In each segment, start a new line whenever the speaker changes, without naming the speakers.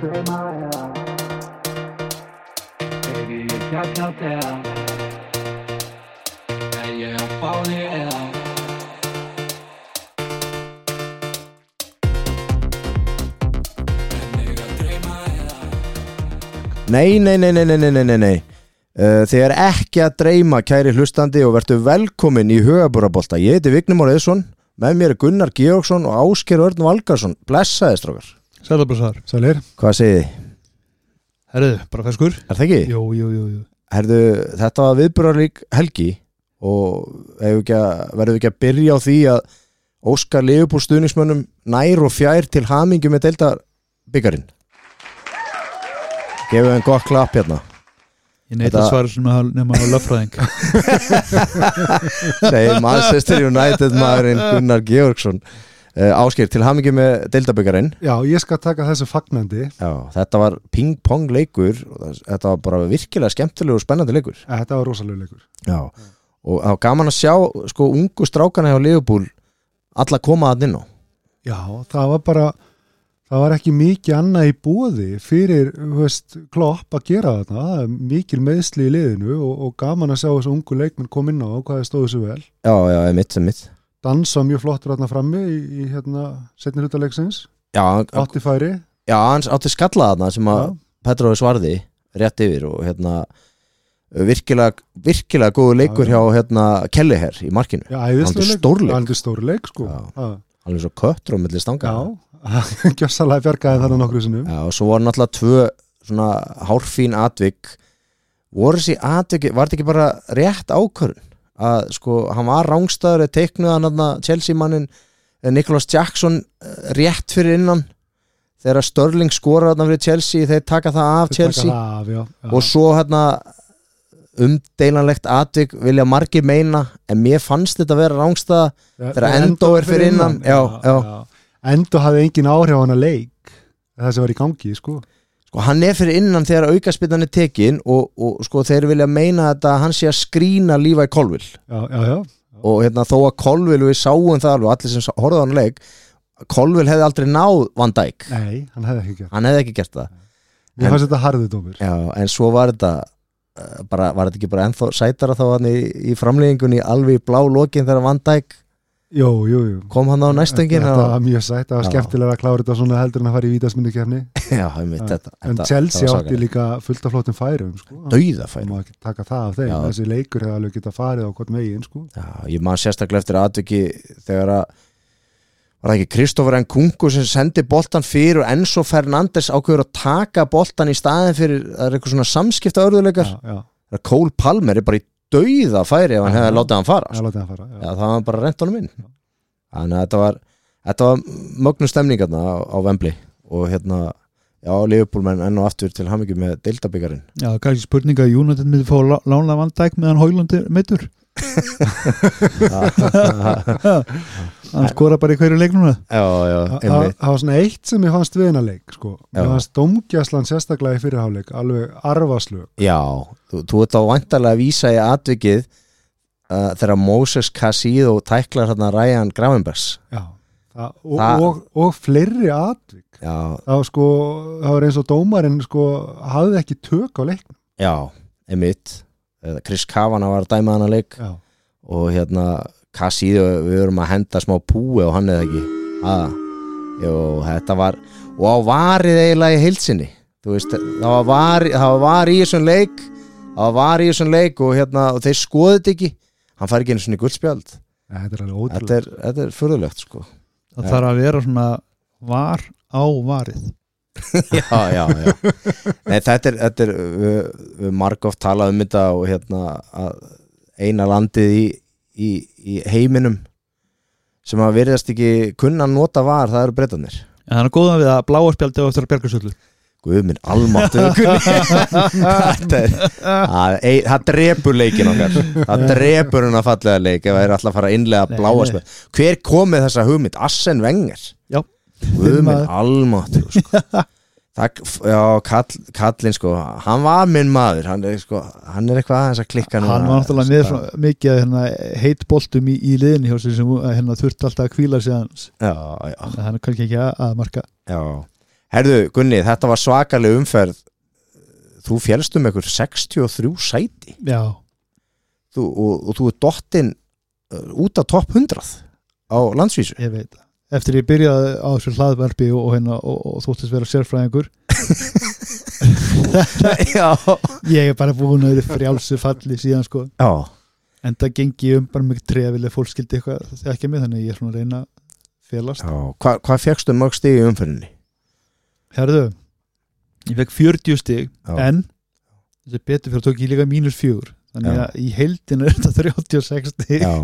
through my eyes. Baby, you got no doubt. And you're falling out.
Nei, nei, nei, nei, nei, nei, nei, nei, nei. Uh, Þið er ekki að dreyma kæri hlustandi og verður velkomin í hugabúrabolta. Ég heiti Vignum Áriðsson, með mér er Gunnar Georgsson og Ásker Örn Valgarsson. Blessaði, strókar.
Sælabrúsar Sælir
Hvað segið þið?
Herðu, bara feskur
Er það ekki?
Jú, jú, jú, jú.
Herðu, þetta var viðburðarlík helgi og eigum við ekki að- verðum við ekki að byrja á því að Óskar Leifupúl stuðningsmönnum nær og fjær til hamingi með delta byggarinn. Gefum við einn gott klapp hérna.
Ég neitt
Þetta-
að svara sem að nefna á löffræðing
Nei, Manchester United maðurinn Gunnar Georgsson uh, Ásker, til hamingi með deildaböggarinn
Já, ég skal taka þessu fagnandi
Þetta var ping-pong leikur og það- Þetta var bara virkilega skemmtilegu og spennandi leikur
Eh, Þetta var rosalega leikur
Já Og það var gaman að sjá sko ungu strákana hjá Leopold alla koma að inn á
Já, það var bara það var ekki mikið annað í bóði fyrir, þú veist, klopp að gera þarna það er mikil meðsli í liðinu og, og gaman að sjá þessu ungu leikmenn kom inn á og hvað það stóðu svo vel
Já, já, emitt, emitt
dansa mjög flottur þarna frammi í, í hérna, setni hluta leiksins
Já, hann-
átti færi
já hans átti skalla þarna sem að
Já.
Petrófi svarði rétt yfir og hérna virkilega, virkilega góðu leikur hjá hérna Kelleher í markinu
Já, æðislega
Algjör
leikur.
stórleik.
Algjör stórleik, sko
Já.
Já,
Hann er svo köttur á milli stanga
já. gjössalega bjargaði þarna nokkru sinnum
Já, og svo voru náttúrulega tvö svona hárfín atvik voru þessi atvik, var þetta ekki bara rétt ákvörðun að sko, hann var rángstæður eða teiknuð hann aðna Chelsea mannin Nicholas Jackson eh, rétt fyrir innan þegar Störling skora þarna fyrir Chelsea þeir taka það af
Þeir taka
Chelsea
það af, já, já.
og svo hérna umdeilanlegt atvik vilja margir meina en mér fannst þetta vera rángstæða
Ja,
Þegar
þegar
Endo er fyrir innan, já, já.
Endo hafði engin áhrif á hana leik það sem var í gangi sko
sko, hann er fyrir innan þegar aukaspinnan er tekin og, og sko, þeir vilja meina þetta að hann sé að skrína lífa í kolvil
já, já, já,
og hérna, þó að kolvil við sáum það alveg, allir sem sá- horfðu á hann leik kolvil hefði aldrei náð Van Dijk
nei, hann hefði ekki gert
hann hefði ekki gert það En-
ég fannst þetta harðu dómur
Já, en svo var þetta eh, bara, var þetta ekki bara ennþá sætara þá hann í, í framleggingunni alveg í blá lokin þegar Van Dijk
jú, jú, jú
kom hann á næstöngin
þetta
og,
var mjög sætt, það var
Já.
skemmtilega að klára þetta svona heldur en að fara í vítasmyndu kefni
já, einmitt, þetta,
en
þetta,
Chelsea átti líka fullt af flottum færum sko.
döiðafæri
má ekki taka það af þeim
Já.
þessi leikur hefði alveg getað farið á hvort megin sko.
Já, ég man sérstaklega eftir atviki þegar að var það ekki Kristófur Nkunku sem sendi boltan fyrir og Enzo Fernandes ákveður að taka boltan í staðin fyrir það er eitthvað svona samskipta örðuleikar
já, já,
Cole Palmer er bara í dauða færi ef hann
Já.
hefði látið hann fara
það
sko.
láti hann fara
Já,
já.
það var bara rent honum inn þannig að þetta var, þetta var mögnum stemningarna á, á Vembli og hérna, já, Leifupúlmenn enn og aftur til hamingju með deildabyggarinn
Já, kannski spurninga að United myndi fá lá- lánlega vandæk meðan Hólund er meittur Hann skora bara í hverju leik núna
Já, já,
Þa- Það
einmitt
það var svona eitt sem ég fannst við hennar leik sko.
Já.
Mér fannst domgjæslan sérstaklega í fyrirháleik alveg arfaslög
Já, þú, þú ert á vantarlega að vísa í atvikið uh, þegar Moses Cassido tæklar hérna Ryan Gravenbergs
Já. Það, og,
Það-
og, og fleiri atvik
Já,
það var, sko, það var eins og dómarinn sko, hafði ekki tök á leiknum
já, einmitt Eh, Chris Kavana var að dæma hana leik
Já.
og hérna Cassido, við erum að henda smá púi og hann eða ekki ah, Jú, þetta var og á varið eiginlega í heilsinni þú veist, það var, var, það var var í þessum leik það var var í þessum leik og hérna, og þeir skoðu þetta ekki hann fær ekki einu svona guldspjald
Ja, þetta er alveg
þetta
ótrúlega
er, þetta er furðulegt sko
Það
Já.
þarf að vera svona var á varið
já, já, já. Nei, þetta er, þetta er við, við margóft talað um þetta og hérna að eina landið í, í, í heiminum sem að virðast ekki kunna að nota var, það eru breytanir
En það er góðan við að bláa spjaldi á eftir að bjarga söllu
Guðminn, almáttu Þetta er Það ei- það drepur leikin okkar Það drepur hún að fallega leik ef það er alltaf að fara að innlega
Nei,
bláa
nei.
spil Hver kom með þessa hugmynd? Assen Wenger
Já.
Guðminn
maður.
almáttur sko. Það, já, kall, kallinn sko Hann var minn maður Hann er, sko, hann er eitthvað aðeins að klikka núna. Sko.
Hann var náttúrulega með svona, mikið af, hérna, heit boltum í, í liðinni hjá eh, sér sem hérna, þurfti alltaf að kvíla sig hans
Já, já,
Það er kannski ekki að- að marka
já Herðu, Gunni, þetta var svakaleg umferð Þú félst um ykkur 63 sæti
já,
þú, og, og þú er dottinn uh, út af topp 100 á landsvísu
ég veit það. eftir ég byrjaði á þessu hlaðvarpi og, og, hérna, og, og þóttist vera sérfræðingur
Já,
ég er bara búin að vera frjálsu falli síðan sko
já
en það gengi ég um bara mjög trefileg fólk skildi eitthvað þekkja mig þannig að ég er svona að reyna að félast
Hva, Hvað fegstu mörg stig í umferðinni?
Herðu, ég fekk 40 stig
Já.
en þessi betur fyrir tók ég líka mínus fjögur þannig
Já.
að í heildinu er þetta 36 stig
Já,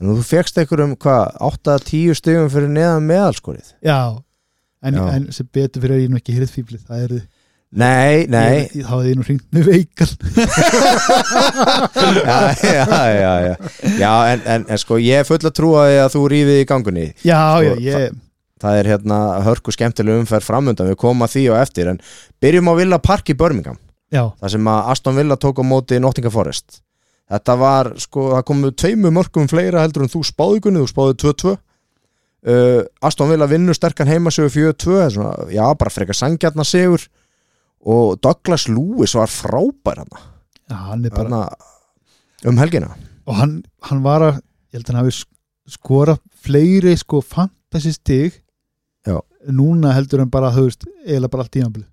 en þú fegst ykkur um hvað 8-10 stigum fyrir neðan meðalskorið
Já. En,
Já.
en sem betur fyrir að ég er nú ekki hirðfíblið það er,
Nei, nei
ég, þá hefði ég nú hringt með veikal
já, já, já, já. já en, en, en sko ég er full að trúa því að þú rífið í gangunni
Já,
Sko,
já, ég,
það er hérna hörku skemmtileg umferð framöndan við komum að því og eftir en byrjum á Villa Park í Birmingham
já,
þar sem að Aston Villa tók á móti Nottingham Forest þetta var sko, það komu tveimu mörgum fleira heldur en þú spáði gunni, þú spáði 2-2 uh, Aston Villa vinnur sterkan heimasögur 4-2, það er svona, já bara frekar sangjarnar sigur og Douglas Lewis var frábær hana,
já, hann er bara
hana um helgina
og hann, hann var að, ég held að hann hafi sk- skorað fleiri sko fantasy stig
Já.
núna heldur en bara, þú veist, eiginlega bara allt tímabili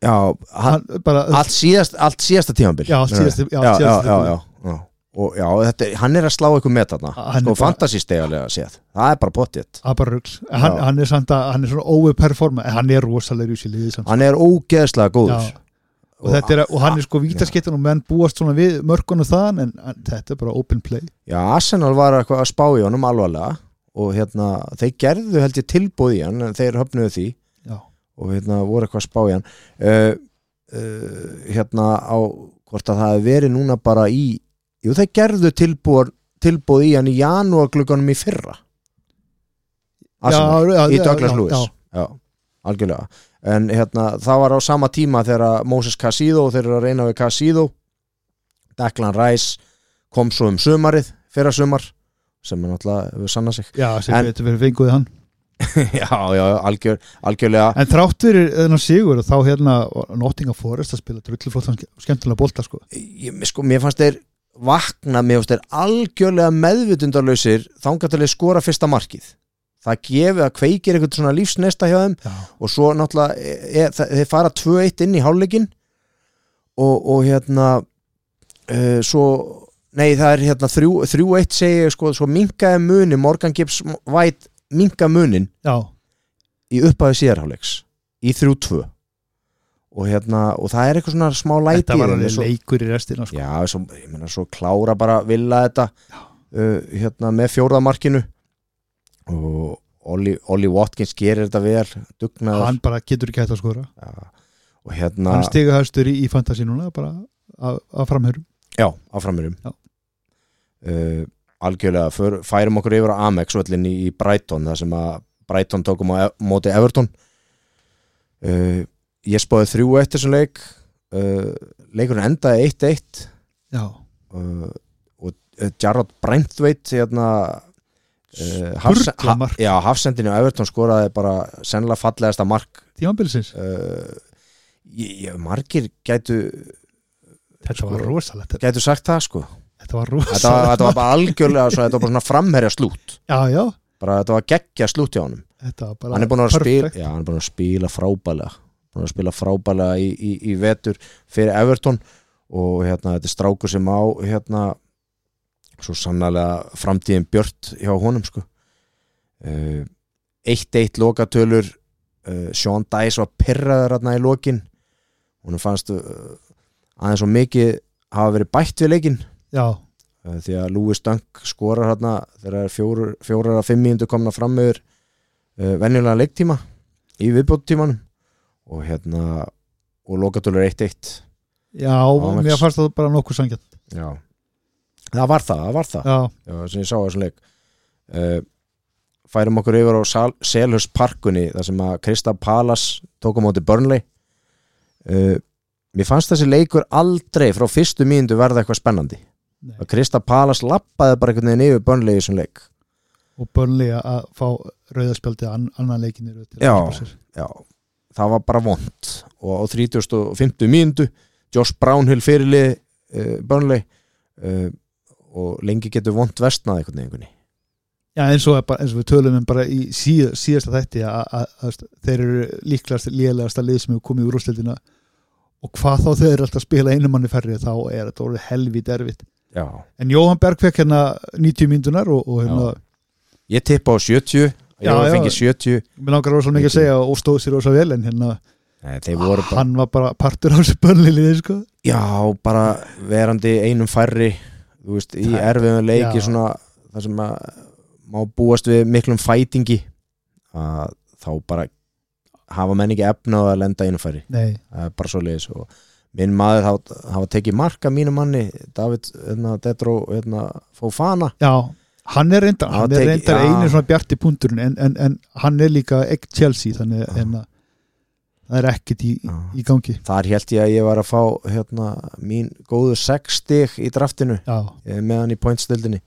já, hann,
hann, bara,
allt, síðast, allt síðasta tímanbil
já, síðast, já,
já, já,
síðast
já, já, já. Og, já þetta, er- hann er að slá ykkur með þarna sko
Hann er bara-
fantasístegulega séð það er bara pottitt
Það er bara rugl. Hann,
Já.
hann er samt að, hann er svona overperforma en hann er rosalegur í sér liði samt
hann er ógeðslega góður
Já. og, þetta er, og hann er sko vítaskettin og menn búast svona við mörgun og þaðan en en þetta er bara open play
Já, Arsenal var eitthvað að spá í honum alvarlega og hérna, þeir gerðu held ég tilbúð í hann en þeir höfnuðu því
Já.
og hérna voru eitthvað að spá í hann uh, uh, hérna á hvort að það hefði verið núna bara í jú, þeir gerðu tilbúð, tilbúð í hann í janúarglugganum í fyrra Arsenal,
já,
í Douglas
já,
Lewis
já,
já, algjörlega en hérna, það var á sama tíma þegar að Moses Casido og þeir eru að reyna við Casido Declan Rice kom svo um sumarið, fyrra sumar sem er náttúrulega hefur sannað sig
já, sem
En-
betur verið fenguði hann
já, já, algjör, algjörlega
en þrátt fyrir þennan sigur þá hérna Nottingham Forest að spila drulluflótt skemmtilega bolta sko
ég, mér sko, mér fannst þeir vakna, mér fannst þeir algjörlega meðvitundarlausir þangatalegi skora fyrsta markið það gefið að kveikir eitthvað svona lífsnesta hjá þeim
já,
og svo náttúrulega e, e, þa- þeir fara 2-1 inn í hálfleikin og, og hérna e, svo nei það er hérna 3- 3-1 segi ég sko, svo minkaði muni Morgan Gibbs White minka munin
já,
í upphæðu síðarháleiks í 3-2 og hérna og það er eitthvað svona smá læti
þetta
í
var
þeim,
alveg
svo,
leikur í restina sko.
já, svo, ég meina svo klára bara vilja þetta uh, hérna með fjórðamarkinu og Ollie, Ollie Watkins gerir þetta vel dugnaður
hann bara getur ekki hægt að skora
Já, og hérna
hann stiga hægstur í, í fantasy núna bara að, að framhörum
já, áframurum
Já.
uh, algjörlega, för, færum okkur yfir á Amex völlin í, í Brighton þar sem að Brighton tókum á e móti Everton uh, ég spáði þrjú eitt þessum leik uh, leikurinn endaði 1-1
já,
uh, og uh, Jarrod Brentweit hérna uh, hafse-
Sturla mark.
já, hafsendinu á Everton skoraði bara sennilega fallegasta mark
tímambilsins
uh, ég, ég, margir gætu,
þetta var rosalegt,
gætu sagt það sko þetta
þetta var
var,
rosalegt
þetta var bara algjörlega svo, þetta var bara svona framherja slút
já, já,
bara þetta var geggja slút hjá honum
þetta var bara
hann er búin að, vera að spila,
perfect.
já, hann er búin að spila frábælega búin að spila frábælega í, í, í vetur fyrir Everton og hérna þetta er strákur sem á hérna svo sannlega framtíðin björt hjá honum sko Eh, 1-1 lokatölur uh, Sean Dice var pyrraður hérna í lokin hún fannst uh, aðeins og mikið hafa verið bætt við leikinn
já,
Eh, því að Lewis Dunk skorar hérna þegar það er fjórar, fjórar að fimm mínútur komna fram yfir uh, venjulega leiktíma í viðbóttímanum og hérna og lokatölur 1-1
já,
Alex.
mér fannst það bara nokkuð sangjant
Já. það var það, það var það
já,
Já, sem ég sá á þessum leik uh, færum okkur yfir á Sal Selhurst parkunni þar sem að Krista Palas tók á móti Burnley uh, mér fannst þessi leikur aldrei frá fyrstu mínundu verða eitthvað spennandi
Nei.
að Krista Palas lappaði bara einhvern veginn yfir Burnley í þessum leik
og bönlega að fá rauðarspjaldið an, annan leikinir
Já. já, það var bara vond og á 35. mínundu Josh Brownhill fyrirlið uh, Burnley uh, og lengi getur vond vestnað einhvern veginn
Já, eins og, er bara, eins og við tölum um bara í síð, síðasta þætti að, að, að þeir eru líklast lélegasta lið sem hefur komið úr úrstildina og hvað þá þeir eru alltaf að spila einu manni færri þá er þetta orðið helvít erfitt
Já,
en Jóhann Berg fekk hérna 90 myndunar og, og hérna,
ég tippa á 70
Já,
ég var
já.
fengið 70
mér langar rosa mikið að segja og stóð sér rosa vel en hérna
Nei, þeir voru bara,
hann var bara partur á þessu börnliliði sko.
já, bara verandi einum færri þú veist, í
Það-
erfiðum leiki
já.
svona, það sem að má búast við miklum fætingi að þá bara hafa menn ekki efna á að lenda einum færri
Nei,
það er bara svo leiðis og minn maður hafa, hafa tekið marka mínu manni David hérna, Detró hérna, Fofana
já, hann er reyndar,
Já,
hann er
teki-
reyndar
já.
einu svona bjart í punkturinn en, en, en hann er líka ekki Chelsea þannig
Já.
að hérna, það er ekkert í,
Já.
í gangi
þar held ég að ég var að fá hérna, mín góðu sex stig í draftinu
Já,
eh, með hann í pointstöldinni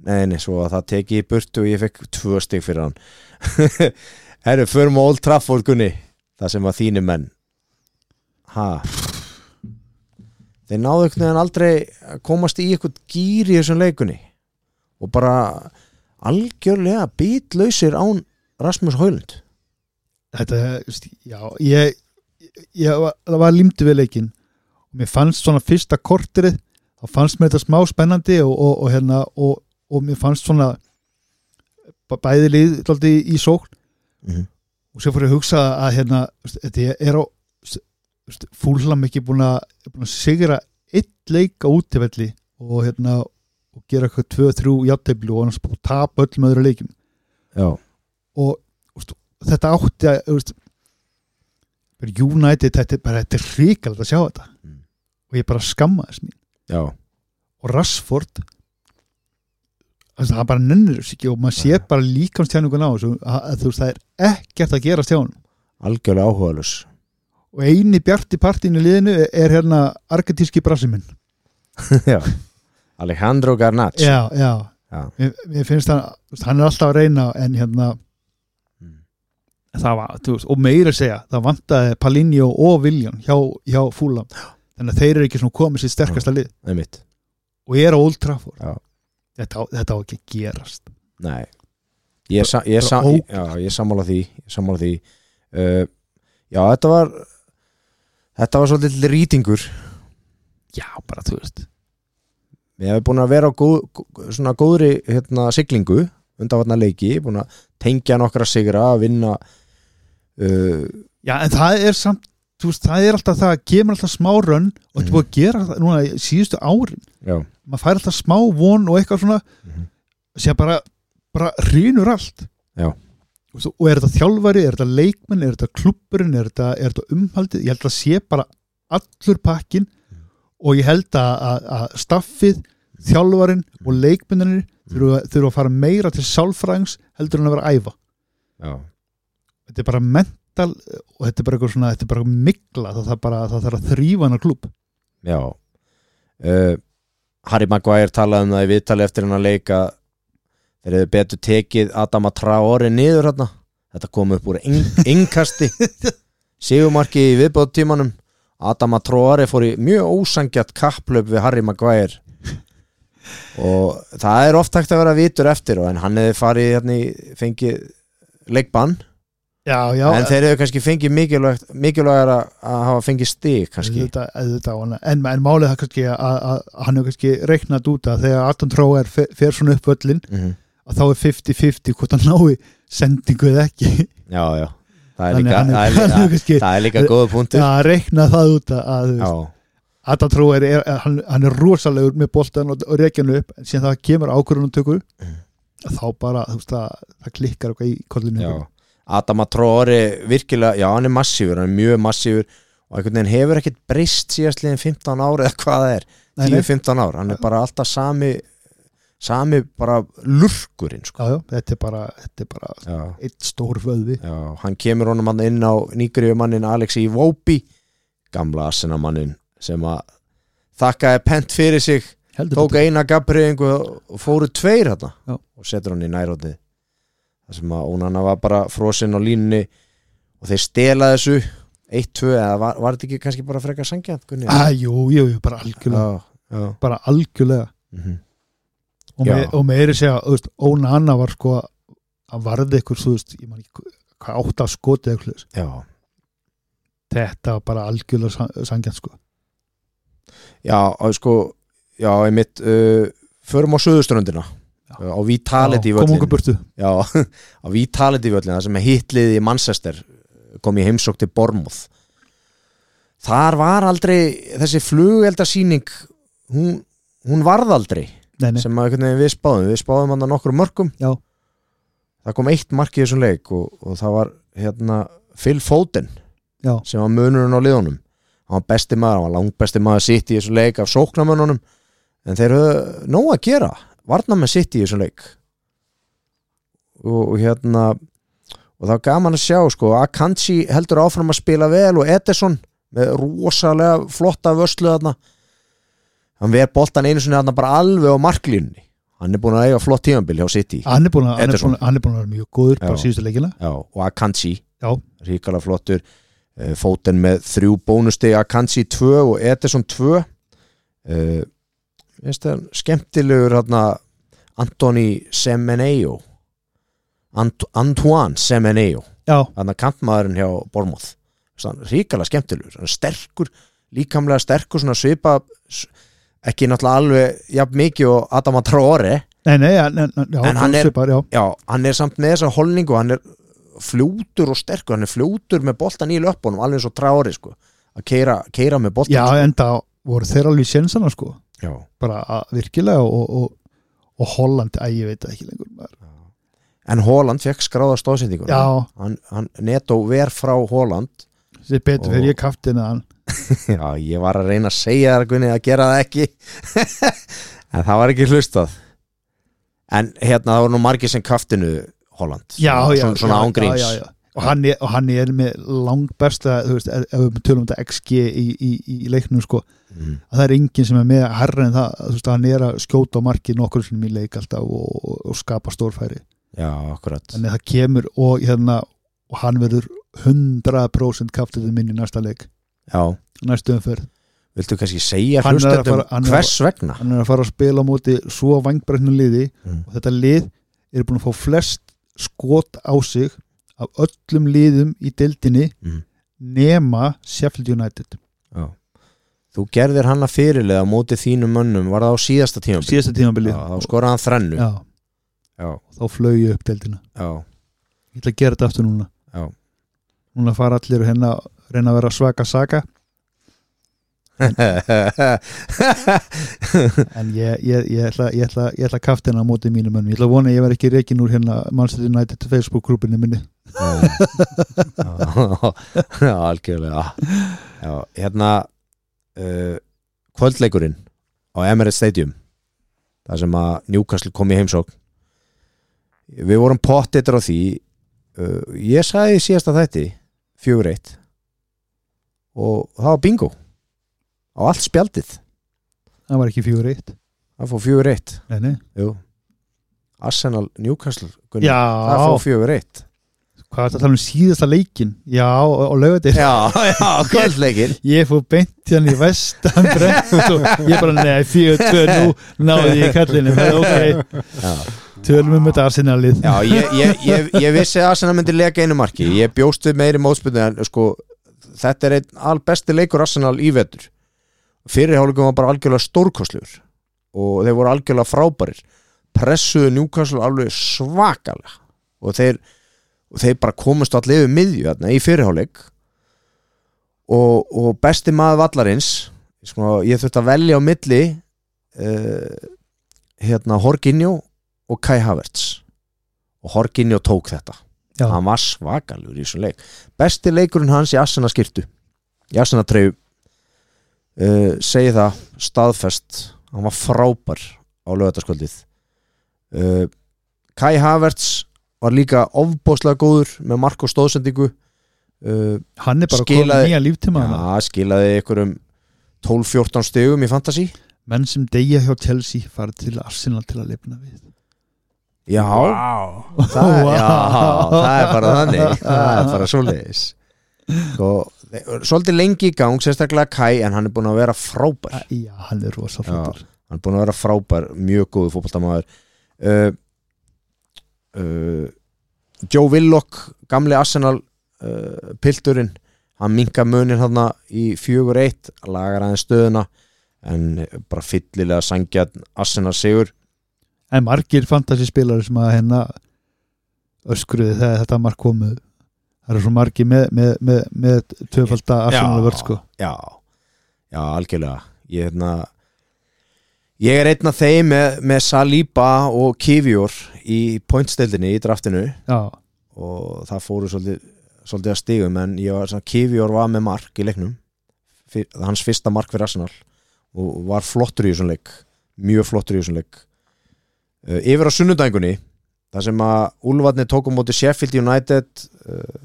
nei, nei, svo að það tekið í burtu og ég fekk tvö stig fyrir hann herru, förum á Old Trafford Gunni það sem var þínu menn ha þeir náðu einhvern veginn aldrei að komast í eitthvað gýr í þessum leikunni og bara algjörlega bitlausir án Rasmus Hólund
þetta, veist, já, ég, ég var, það var límdi við leikinn og mér fannst svona fyrsta korterið þá fannst mér þetta smá spennandi og, og, og hérna, og, og mér fannst svona b- bæði lið dálítið í- í sókn
Mhm.
og sér fór ég að hugsa að hérna, veist, þetta er á fúlhlam ekki búin að, búin að sigra eitt leik á útifelli og hérna og gera eitthvað 2-3 játteifli og annars búin að tapa öllum öðru leikjum
já,
og úst, þetta átti að úst, United þetta er bara þetta er ríkalegt að sjá þetta
Mm.
og ég bara skammaðist mín
já,
og Rashford þess, hann bara nennir þessu ekki og maður sér bara líkamstjáningun á þessu að, að, þú veist, það er ekkert að gera stjánum
algjörlega áhugaðlus
og eini bjarti partínu liðinu er, er hérna argentíski brassiminn
já Alejandro Garnach
já, já,
Já.
Mér, mér finnst hann þú veist, hann er alltaf að reyna en hérna
Mm.
það var, þú veist, og meira að segja það vantaði Palinho og Viljan hjá, hjá Fúlam þannig að þeir eru ekki svona komið sér sterkasta lið
einmitt,
og ég er á Old Trafford
Já.
þetta, á- þetta á ekki að gerast
nei ég, sa, ég, sa,
Bara ógeð.
já, ég sammála því, ég sammála því. Uh, já, þetta var þetta var svolítið rýtingur
já, bara þú veist
við hefum búin að vera á góð, svona góðri hérna, siglingu undanvarna leiki búin að tengja nokkra sigra að vinna uh,
já, en það er samt, þú veist, það er alltaf það kemur alltaf smá rönn og
Mhm.
þetta búið að gera það núna í síðustu árin
já,
maður fær alltaf smá von og eitthvað svona
Mhm.
sem bara, bara rínur allt
Já.
og, svo, og er þetta þjálfari, er þetta leikmenn er þetta klubburinn, er þetta, er þetta umhaldið ég held að sé bara allur pakkin
Mhm.
og ég held að, að, að staffið, þjálfarinn
Mhm.
og leikmennir þurfa, þurfa að fara meira til sálfræðings heldur en að vera að æfa
já,
þetta er bara mental og þetta er bara eitthvað svona, þetta er bara mikla það þarf bara, það þarf að þrýfa hana klub
já. Uh, Harry Maguire talaði um það í viðtali eftir hennar leika þeir hefðu betur tekið Adama Traore niður hérna þetta kom upp úr yng- yngkasti sigumarki í viðbóðtímanum Adama Traore fór í mjög ósangjart kapplöp við Harry Maguire og það er oft hægt að vera vitur eftir á, en hann hefði farið hérna í fengið leikbann
já, já, eh.
en þeir hefðu kannski fengið mikilvægt mikilvægar að hafa fengið stig kannski
Auðvitað, auðvitað á hana. En, en málið það kannski að, að, að hann hefur kannski reiknað út að þegar Adam Tróer fer, fer svona upp öllin
mm
að þá er 50-50 hvort hann nái sendingu eða ekki
já, já það er
Þannig
líka,
hann er-
það er
hann er
líka,
kannski-
það er líka góða punktur
að reikna það út að, að þú
já,
veist, Adam Tróer er, er- hann, hann er rosalegur með boltan og, og reikjanu upp en síðan það kemur ákvörðunumtökur mm. þá bara þú veist, það, það klikkar eitthvað í kollinu
já Adama Tróri virkilega, já hann er massífur hann er mjög massífur og einhvern veginn hefur ekkert breyst síðastliðin 15 ár eða hvað það er,
Nei, nei.
10-15 ár hann er bara alltaf sami sami bara lurkurinn sko.
Já, já, þetta er bara, þetta er bara
já,
eitt stór vöðvi
já, hann kemur honum hann inn á nýgriðumannin Alexi Iwobi gamla assenamannin sem að þakkaði pent fyrir sig
heldur
tók eina gabriðingu og fóru tveir hérna
Já.
og setur hann í nærhóttið þar sem að Ónana var bara frosinn á línunni og þeir stela þessu 1-2 eða var, var þetta ekki kannski bara frekar sangja Gunni?
ah, jú, jú, jú, bara algjörlega
já, já.
bara algjörlega
mhm,
og,
Já.
með, og meiri segja, þú veist, Óna Anna var sko að varði ykkur, þú veist, ég man ekki hvað átt að skoti eða eitthvað svoleiðis.
já.
þetta var bara algjörlega sangjant sko
já og sko já, einmitt uh, förum á söðuströndina
Já.
á Vitality
Já, kom
völlinn
okkur burtu
Já, á Vitality völlina sem er hitliði í Manchester kom ég heimsók til Bormúð þar var aldrei þessi flugeldasýning hún, hún varð aldrei
nei, nei.
sem að einhvern veginn við spáðum við spáðum hann að nokkru mörgum
Já.
það kom eitt mark í þessum leik og, og það var hérna Phil Foden
Já.
sem var munurinn á liðunum hann var besti maður, hann var langbesti maður sitt í þessum leik af sóknamönunum en þeir höfðu nóg að gera varna með sitt í þessum leik og, og hérna og það var gaman að sjá sko Akanji heldur áfram að spila vel og Edison með rosalega flotta vöslu þarna hann ver boltan einu sinni þarna bara alveg á marklínni hann er búin að eiga flott tímanbíl hjá City
hann er búin að hann er
Ederson.
búinn- hann er búin að vera mjög góður bara
Já.
síðustu leikina
Já, og Akanji
Já.
ríkala flottur Eh, Foden með þrjú bónusti Akanji 2 og Edison 2 Eh, veist það skemmtilegur hérna Antoni Semeneo Ant Antoine Semeneo
já,
hann að kampmaðurinn hjá Bormoth ríkala skemmtilegur, hann er sterkur líkamlega sterkur, svona svipa s- ekki náttúrulega alveg jafn mikið og Adama Traore
nei, nei, já, nei, já,
En hann er-
svipar, já.
já, hann er samt með þessa holningu hann er fljótur og sterkur hann er fljótur með boltan í löpunum alveg eins og Traore sko að keira, keira með boltan
já, enda voru þeir alveg sénsana sko
Já.
bara að, virkilega og, og, og Holland, æ, ég veit það ekki lengur maður.
en Holland fekk skráða stóðsendingur
já,
hann, hann netó ver frá Holland
þessi er betur
Og-
fyrir ég kaftin að hann
já, ég var að reyna að segja þar Gunni að gera það ekki en það var ekki hlustað en hérna það voru nú margir sem kaftinu Holland
já, já,
svona, svona
já,
ángríns
já, já, já. Og, hann er, og hann er með langbesta þú veist, ef ef við tölum um þetta XG í, í, í leiknum sko,
Mm.
að það er enginn sem er með herra en það, þú veist, hann er að skjóta á markið nokkur sinni í leik alltaf og, og, og skapa stórfæri,
já, akkurat
þannig að það kemur og hérna, og hann verður 100% kaftiðið minn í næsta leik
já,
næstu umferð,
viltu kannski segja
Hann er að
hlustendum
fara- hann er að-
hvers vegna
hann er að fara að spila á móti svo vangbreknu liði
Mm.
og þetta lið er búin að fá flest skot á sig af öllum liðum í deildinni
Mhm.
nema Sheffield United
Þú gerðir hann að fyrirlega á móti þínum mönnum, var það á síðasta tíma
síðasta tímabili
Þá skoraði hann þrennu
já,
já,
þá flög ég upp deildina
já,
ég ætla að gera þetta aftur núna
Já.
núna fara allir og hérna reyna að vera svaka saga en ég, ég, ég ætla, ég ætla, ég ætla að kaftina á móti mínum önum, ég ætla að vona að ég verð ekki reikin úr hérna Manchester United Facebook grúpinni minni
já Já, algjörlega Já, hérna uh, kvöldleikurinn á Emirates Stadium þar sem að Newcastle kom í heimsókn Við vorum pottitur á því uh, Ég sagði í síðasta þætti fjögur eitt og það var bingo á allt spjaldið
það var ekki fjögur eitt
Það fór fjögur eitt
nei, nei.
Jú. Arsenal Newcastle Gunni,
já,
Það fór fjögur eitt
hvað er þetta að tala um síðasta leikin já, og, og lögðið
Já, já, kvöldleikin
ég fór beint hérna í vestan brekk og ég bara, nei, fjögur, tvö, nú náði ég kallinu, það er ok
Já,
tölum um þetta arsinnalið
já ég, ég, ég, ég vissi að Arsenal myndi leka einu marki Ég bjóst við meiri mótspilni en sko, þetta er einn albesti leikur Arsenal í vetur Fyrirháleikum var bara algjörlega stórkostlegur og þeir voru algjörlega frábærir pressuðu Newcastle alveg svakalega og þeir, og þeir bara komust allir yfir miðju þarna í fyrirháleik og, og besti maður vallarins sko, ég þurfti að velja á milli uh, hérna Horginjó og Kai Havertz og Horginjó tók þetta
Já.
hann var svakalur í þessum leik besti leikurinn hans í Assana skirtu í Assana treyju uh, segi það staðfest hann var frábær á lögataskvöldið uh, Kai Havertz var líka ofbóðslega góður með Marko stóðsendingu uh,
hann er bara
Skilaði-
komið nýja líftíma
Já,
þarna.
skilaði einhverjum 12-14 stegum í fantasy
menn sem deyja hjá Chelsea farið til Arsenal til að lifna við
Já,
Vá.
það,
Vá.
já, það er bara þannig Það er bara svoleiðis sko, Svolítið lengi í gang sérstaklega Kai en hann er búin að vera frábær
Já, hann er rosa flottur
hann er búin að vera frábær, mjög góðu fótboltamaður uh, uh, Joe Willock gamli Arsenal uh, pilturinn, hann minka munin hann í 4-1 lagar aðeins stöðuna en bara fyllilega sangja Arsenal sigur
En margir fantasyspilari sem að hérna öskruði þegar þetta mark komu Það eru svo margir með, með, með, með tvöfalda Arsenal vörð sko
já, já, algjörlega ég, hérna, ég er einn af þeim með, með Saliba og Kivior í pointstildinni í draftinu
Já,
og það fóru svolítið, svolítið að stigum en ég var, svona, Kivior var með mark í leiknum fyr, hans fyrsta mark fyrir Arsenal og var flottur í þessum leik mjög flottur í þessum leik uh, yfir á sunnudængunni þar sem að Úlfarni tók á móti Sheffield United uh,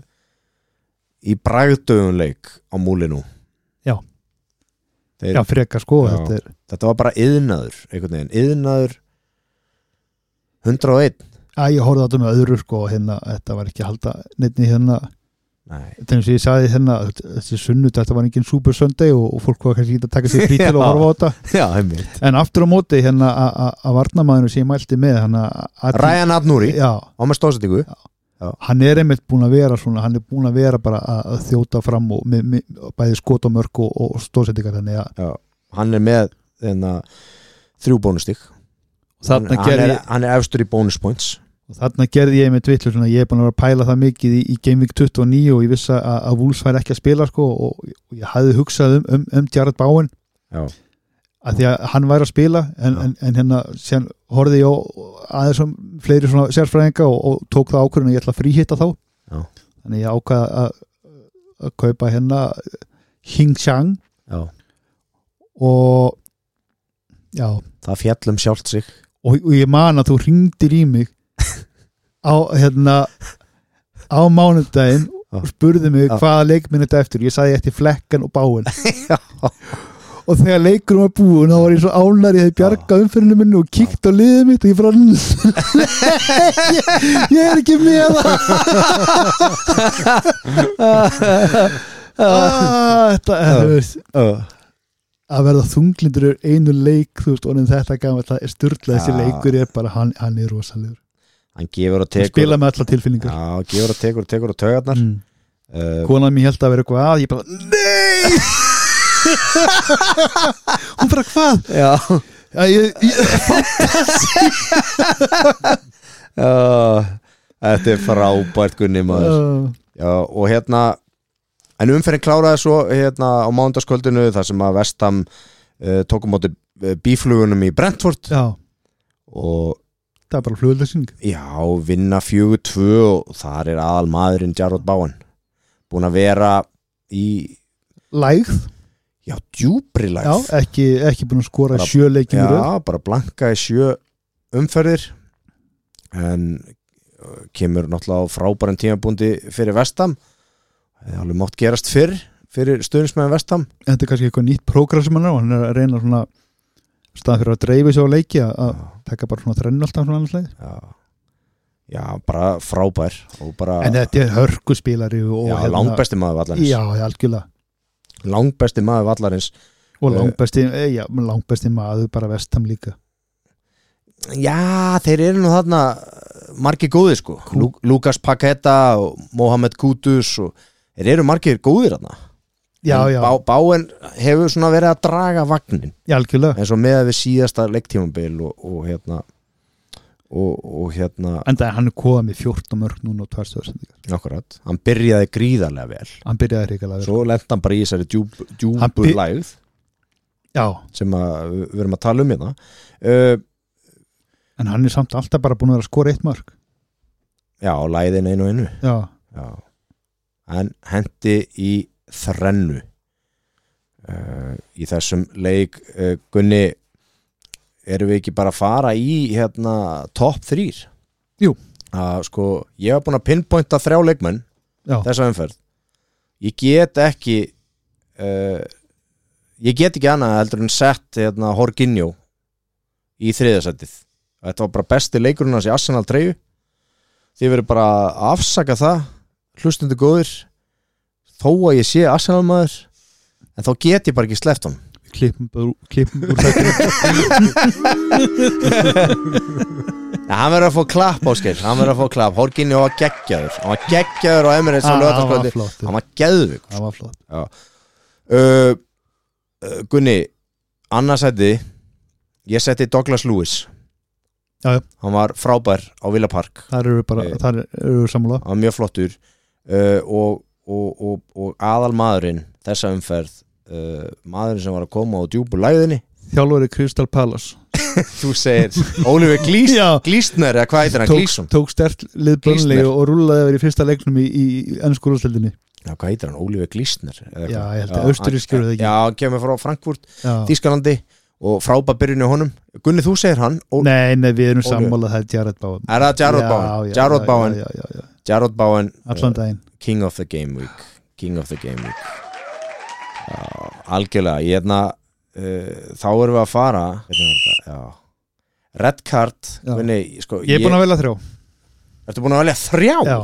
í bragdöfum leik á múlinu
Já.
Þeir,
já frekar sko
Já.
þetta er,
þetta var bara yðnaður einhvern veginn, yðnaður 101
að ég horfði á þetta með öðru sko og hérna, þetta var ekki að halda neittni hérna,
Nei.
þetta er eins og ég sagði hérna þessi sunnut, þetta var engin super sunday og, og fólk var kannski ekki að taka sér frí til
Já.
að horfa á þetta
Já, einmitt.
En aftur á móti hérna a- a- að varnamaðinu sem ég mælti með hann að
Ryan Abnúri
já,
á með stóðsettingu
hann er einmitt búin að vera svona, hann er búin að vera bara að, að þjóta fram og með, með, bæði skot og mörg og, og stóðsettingar þannig að
hann er með hérna, þrjú bónustík hann,
þarna
hann,
gerði
er- hann er efstur í bónus points
ég þarna gerði ég með dvitlu svona, ég er búin að vera að pæla það mikið í, í Game Week 29 og ég vissi að, að Wolves fær ekki að spila sko og, og ég hafði hugsað um, um, um Jared Bowen
Já.
að því að hann væri að spila en,
Já.
en, en hérna síðan horfði ég á aðeins um fleiri svona sérfræðinga og, og tók það ákvörðin að ég ætla að fríhitta þá
Já.
þannig ég ákvað að, að kaupa hérna Hing Chang
Já.
og já
það fjallum sjálft sig
og, og ég man að þú ringdir í mig á hérna á mánudaginn og spurði mig
Já.
hvaða leikminn þetta eftir ég sagði eftir flekkan og báin og þegar leikurum var búin þá var ég svo ánar ég hefði bjargað umfyrinu minni og kíkt á liðið mitt og ég bara ég, ég er ekki með það Ah, þetta
Já.
þú veist, að verða þunglindur er einu leik þú veist, orðin þetta gaman, það er styrlað þessi
Já.
leikur er bara, hann, hann er rosalegur
hann gefur og
Tekur.
tekur
spila með alla tilfinningar
Já, gefur og tekur og tekur og taugarnar
mm.
uh,
konan mér held að vera eitthvað að ég bara, nei hún bara, hvað?
Já
Já, ég, ég,
uh, Þetta er frábært Gunni maður Já, og hérna en umferðin kláraði svo hérna á mánudagskvöldinu þar sem að Vestam uh, tókum átti bíflugunum í Brentford
já,
og
það er bara flugöldarsýning
Já, vinna 4-2 og þar er aðal maðurinn Jarrod Báan búin að vera í
lægð,
já, djúbri
já,
lægð
ekki, ekki búin að skora
Bara-
sjö leikin í röð
Já, bara blanka í sjö umferðir en uh, kemur náttúrulega á frábæran tímabundi fyrir Vestam það er alveg mátt gerast fyrr fyrir stöðnismæðin Vestam
þetta er kannski eitthvað nýtt prógram sem hann er og hann er að reyna svona staðan fyrir að dreifu sér á leiki að- að taka bara svona þrenn alltaf svona annars leið
já. já, bara frábær og bara,
en þetta er hörkuspílari og
já,
hérna-
langbesti maður vallarins
já, já, algjörlega
langbesti maður vallarins
og
Eh.
langbesti, eh, já, langbesti maður bara vestam líka
Já, þeir eru nú þarna margir góðir sko Lú, Lukas Paketa og Mohamed Kutus og þeir eru margir góðir þarna
já,
En
já,
Bá, Báen hefur svona verið að draga vagnin
já, algjörlega
eins og með við síðasta leiktímambil og, og hérna og, og hérna
en það er hann komið með 14 mörg núna og tværstöðarsendingar
akkurat, hann byrjaði gríðarlega vel
hann byrjaði reikalega vel
svo lent hann bara í þessari djúp,
Hann
djúbu
by-
lægð
já,
sem að, við við erum að tala um hérna uh,
en hann er samt alltaf bara búin að vera að skora eitt mörg
já, læðin einu og einu
já,
Já. hann hendi í þrennu uh, í þessum leik uh, Gunni erum við ekki bara að fara í hérna topp þrýr
Jú.
að sko ég hef búin að pinpointa þrjá leikmenn
já,
þessa umferð ég get ekki uh, ég get ekki annað heldur en sett hérna, Horginjó í þriðasættið þetta var bara besti leikurinn hans í Arsenal 3 þið verður bara að afsaka það hlustundu góður þó að ég sé Arsenal maður en þá get ég bara ekki sleppt hann
Við klippum bara- klippum úr þetta
Nei, hann verður að fá klapp áskil hann verður að fá klapp, Horginjó var geggjaður hann var geggjaður á Emirates á
Ah, það var
lögataskvöldi
flott
hann var geðvik
það var flott
uh, uh, Gunni annarsætti ég setti Douglas Lewis
Já, já.
hann var frábær á Villa Park
þar eru við bara,
Nei.
þar eru við sammála
hann var mjög flottur uh, og, og, og, og aðal maðurinn þessa umferð uh, maðurinn sem var að koma á djúbu læðinni
þjálfari Crystal Palace
þú segir Oliver Glís,
Já.
Glísner eða hvað heitir hann
tók,
Glísson
tók stert lið bönni
Glísner.
og rúlaði yfir í fyrsta leiknum í, í ennskólastöldinni
já hvað heitir hann Oliver Glísner eða
Já,
eitthvað.
ég held að austurrískur er það
hann-
ekki.
já hann kemur frá Frankfurt
Já.
Þískalandi og frábær byrjunni honum Gunni þú segir hann Ol-
nei, nei, við erum
Óli.
sammála það er Jared Bowen
er það Jarrod Bowen Jarrod Bowen
já, já, já, já.
Jarrod Bowen
allan daginn
King of the Game Week King of the Game Week já, algjörlega ég hefna uh, þá erum við að fara Hvernig var þetta? já Red Card
Já.
Vinni, sko,
ég er búin að velja þrjá
Ertu búin að velja þrjá?
já,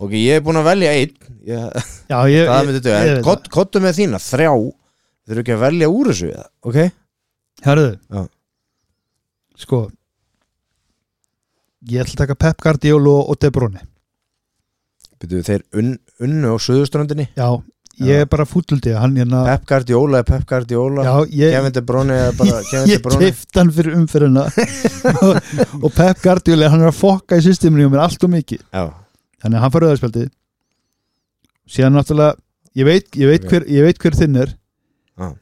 Ok, ég er búin að velja einn ég,
já ég,
Það
ég,
myndi þetta
ég
En
veit
kott- kottu með þína þrjá Þeir eru ekki að velja úr þessu eða? Ok Já.
herruðu sko ég ætla að taka Pep Guardiola og De Bruyne
Byrju, Þeir unn, unnu á suðuströndinni
já, ég er bara fútuldi hann hérna
Pep Guardiola er Pep Guardiola
já, ég,
Kevin De Bruyne er bara Kevin De
ég
Bruyne
keift hann fyrir umferðina og, og Pep Guardiola hann er að fokka í systeminu og mér allt og mikið
Já,
þannig að hann fær auðarspjaldið síðan náttúrulega ég veit, ég veit, hver, ég veit hver þinn er
Já.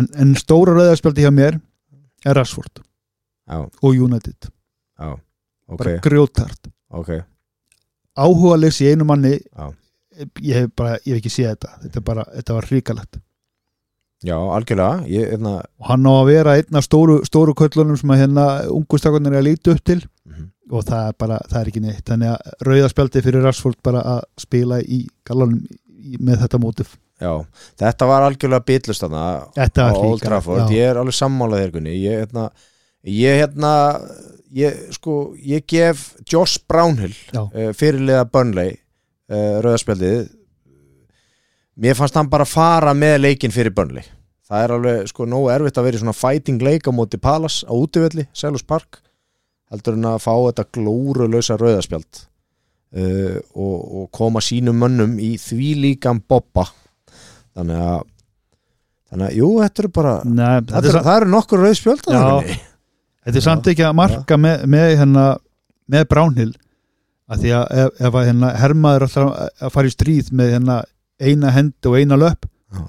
en, en stóra rauðarspjaldið hjá mér er Rashford
já,
og United
já Ok,
bara grjótart
ok
áhuga leiks í einu manni
Já.
ég hef bara, ég hef ekki séð þetta þetta, er bara, þetta var hríkalegt
Já, algjörlega Ég, hérna,
og hann á að vera einn af stóru, stóru köllunum sem að hérna ungustakunir er að líti upp til
Mhm.
og það er bara, það er ekki neitt þannig að rauðarspjaldið fyrir Rashford bara að spila í galanum í- með þetta mótif
Já, þetta var algjörlega bitlust þarna
Þetta
á
var
Old
hrikalegt,
Trafford,
já.
ég er alveg sammálað þér Gunni, ég hérna ég hérna, ég sko ég gef Josh Brownhill
Já.
uh, fyrirlega Burnley uh, rauðaspjaldið mér fannst hann bara fara með leikinn fyrir Burnley, það er alveg sko nógu erfitt að vera í svona fighting leik á móti Palace á útivelli, Selhurst Park heldur en að fá þetta glórulösa rauðaspjald uh, og, og koma sínum mönnum í því líkan bobba þannig að þannig að, jú, þetta eru bara
Nei, Mm, þetta,
það
er,
eru,
samt,
það eru nokkur rauðspjöld
Já. þetta er samt ekki að marka með, með, hérna, með Brownhill að því að ef, ef að, hérna, hermaður alltaf að fara í stríð með hérna, eina hend og eina löpp
Já.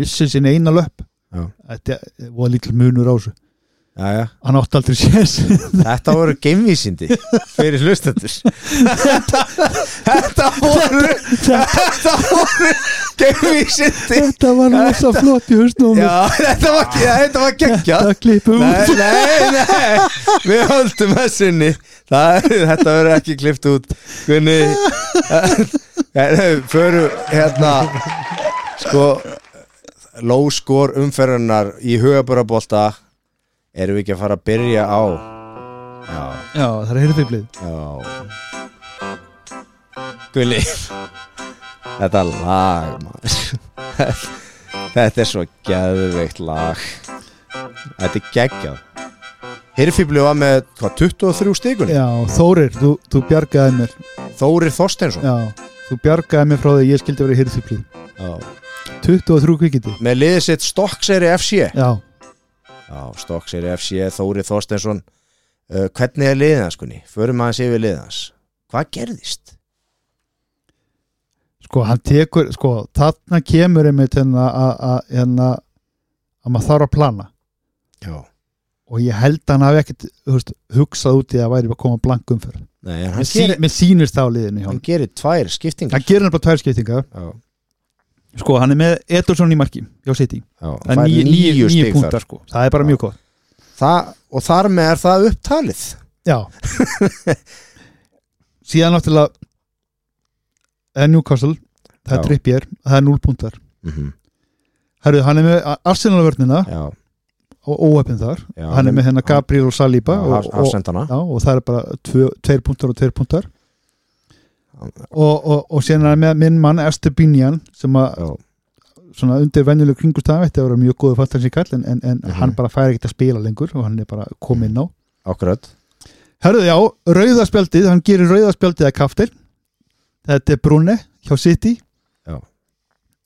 missir sín eina löpp
Já.
þetta er- voða lítil munur á þessu
Jæja,
hann átti aldrei séns
þetta voru geimvísindi fyrir hlustendur þetta voru þetta voru geimvísindi
þetta var rosa flott í hausnum
já, þetta var, já, þetta var geggjað
það klippum
Nei,
út
nei, nei, við höldum að sinni Það, Þetta verður ekki klift út Gunni Föru hérna Sko Low score umferðunar í hugaburabolta Erum við ekki að fara að byrja á Já,
já, það er heyrðfiblið
já Gunni Þetta lag maður Þetta er svo geðveikt lag Þetta er geggjað Hirfibli var með hvað, 23 stíkun
já, Þórir, þú, þú bjargaði mér
Þórir Þorsteinsson
já, þú bjargaði mér frá því að ég skildi verið heyrðfiblið 23 kvikindi
Með liðið sitt Stokkseri FC
já,
Já, Stokkseri FC, Þórir Þorsteinsson uh, Hvernig er liðið hans, kunni? Förum aðeins yfir liðið hans Hvað gerðist?
sko hann tekur sko þarna kemur einmitt hérna að- að hérna að maður þarf að plana
Já
og ég held að hann hafi ekkert þú veist, hugsað út í að væri að koma blankum fyrir
Nei, en
mér,
hann,
sí,
gerir,
mér sýnist það á liðinu hjá
hann
hann
gerir tvær skiptingar
hann gerir nefnilega tvær skiptingar
Já,
sko hann er með Edilson í marki hjá City
já
Það
fær
er níu- níu
stig
punktar,
þar.
sko. það er bara
Já.
mjög gott
Það, Og þar með er það upptalið
já síðan náttúrulega er Newcastle það er
Já.
trippjér, það er 0 punktar
mm -hmm.
Herru, hann er með Arsenal-vörnina
já,
og óöfn þar
já
hann er með hennar Gabriel og Saliba
og,
og, og,
hafsendana
já, og það er bara tvö, tveir punktar og tveir punktar og, og, og síðan er hann með minn mann Estebinjan sem að
já,
svona undir venjuleg kringustaf þetta var mjög góðu fattar kall en, en, en
Mhm.
hann bara fær ekkert að spila lengur og hann er bara komið inn á
akkurat
Herðu já, rauðaspjaldið, hann gerir rauðaspjaldið að kaftir þetta er Brunni hjá City
Já.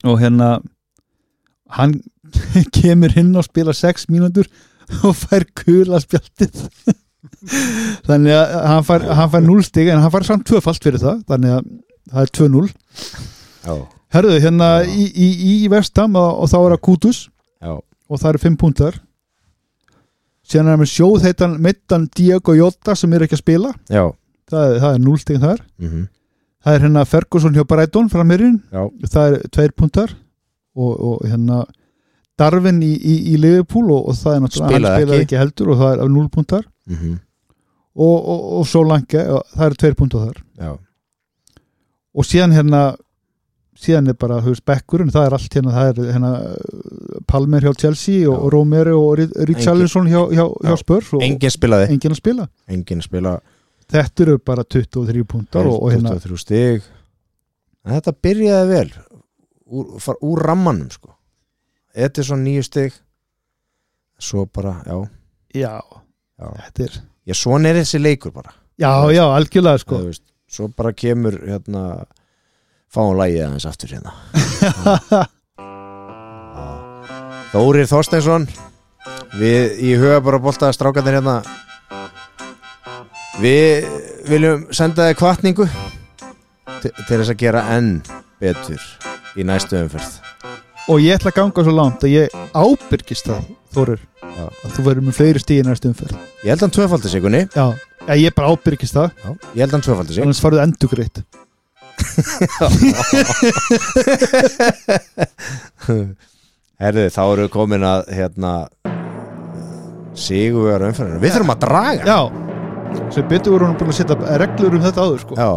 og hérna hann kemur inn og spila 6 mínútur og fær gula spjaldið þannig að hann fær, hann fær 0 stig en hann fær samt tvöfalt fyrir það þannig að það er 2-0
já,
Herðu, hérna
Já.
í, í, í vestam og, og þá er að Kútus
já,
og það eru 5 púntar síðan er hann með sjóð heitan mittan Diego Jota sem er ekki að spila
já
það, er- það er 0 stig þar
mm
það er hérna Ferguson hjá Brighton framherjun
já,
það er 2 púntar og, og hérna Darvin í, í, í Liverpool og, og það er náttúrulega
Spilaði
hann spilaði
ekki.
ekki heldur og það er 0 púntar
mm
og, og, og svo langi, það eru 2 púntar þar
já,
og síðan hérna síðan er bara, þú veist, bekkurinn, það er allt hérna, það er hérna Palmer hjá Chelsea og
Já.
Romero og Richarlison hjá, hjá, hjá
Já.
Spurs og
engin spilaði
enginn að spila
engin spila
þetta eru bara 23 púntar og, og hérna
23 stig en þetta byrjaði vel úr, far, úr rammanum sko þetta er svona nýju stig svo bara, já,
já,
já
þetta er
já, svona er þessi leikur bara
já, já, algjörlega sko
Eða, þú veist, svo bara kemur hérna fáum lægið aðeins aftur hérna Þórir Þorsteinsson við í huga bara bólta strákanir hérna við viljum senda þið kvartningu til, til þess að gera enn betur í næstu umferð
og ég ætla að ganga svo langt að ég ábyrgist það, Þorur
Já.
að þú verður með fleiri stíði næstu umferð
ég held hann tvöfaldi sig Gunni.
já, já ég bara ábyrgist það
ég held hann tvöfaldi sig
annars farið endugreitt
Herðu, þá eru við komin að hérna sigurvegar umferðinu við þurfum að draga
já, sem betur voru hún búin að setja reglur um þetta áður sko
já,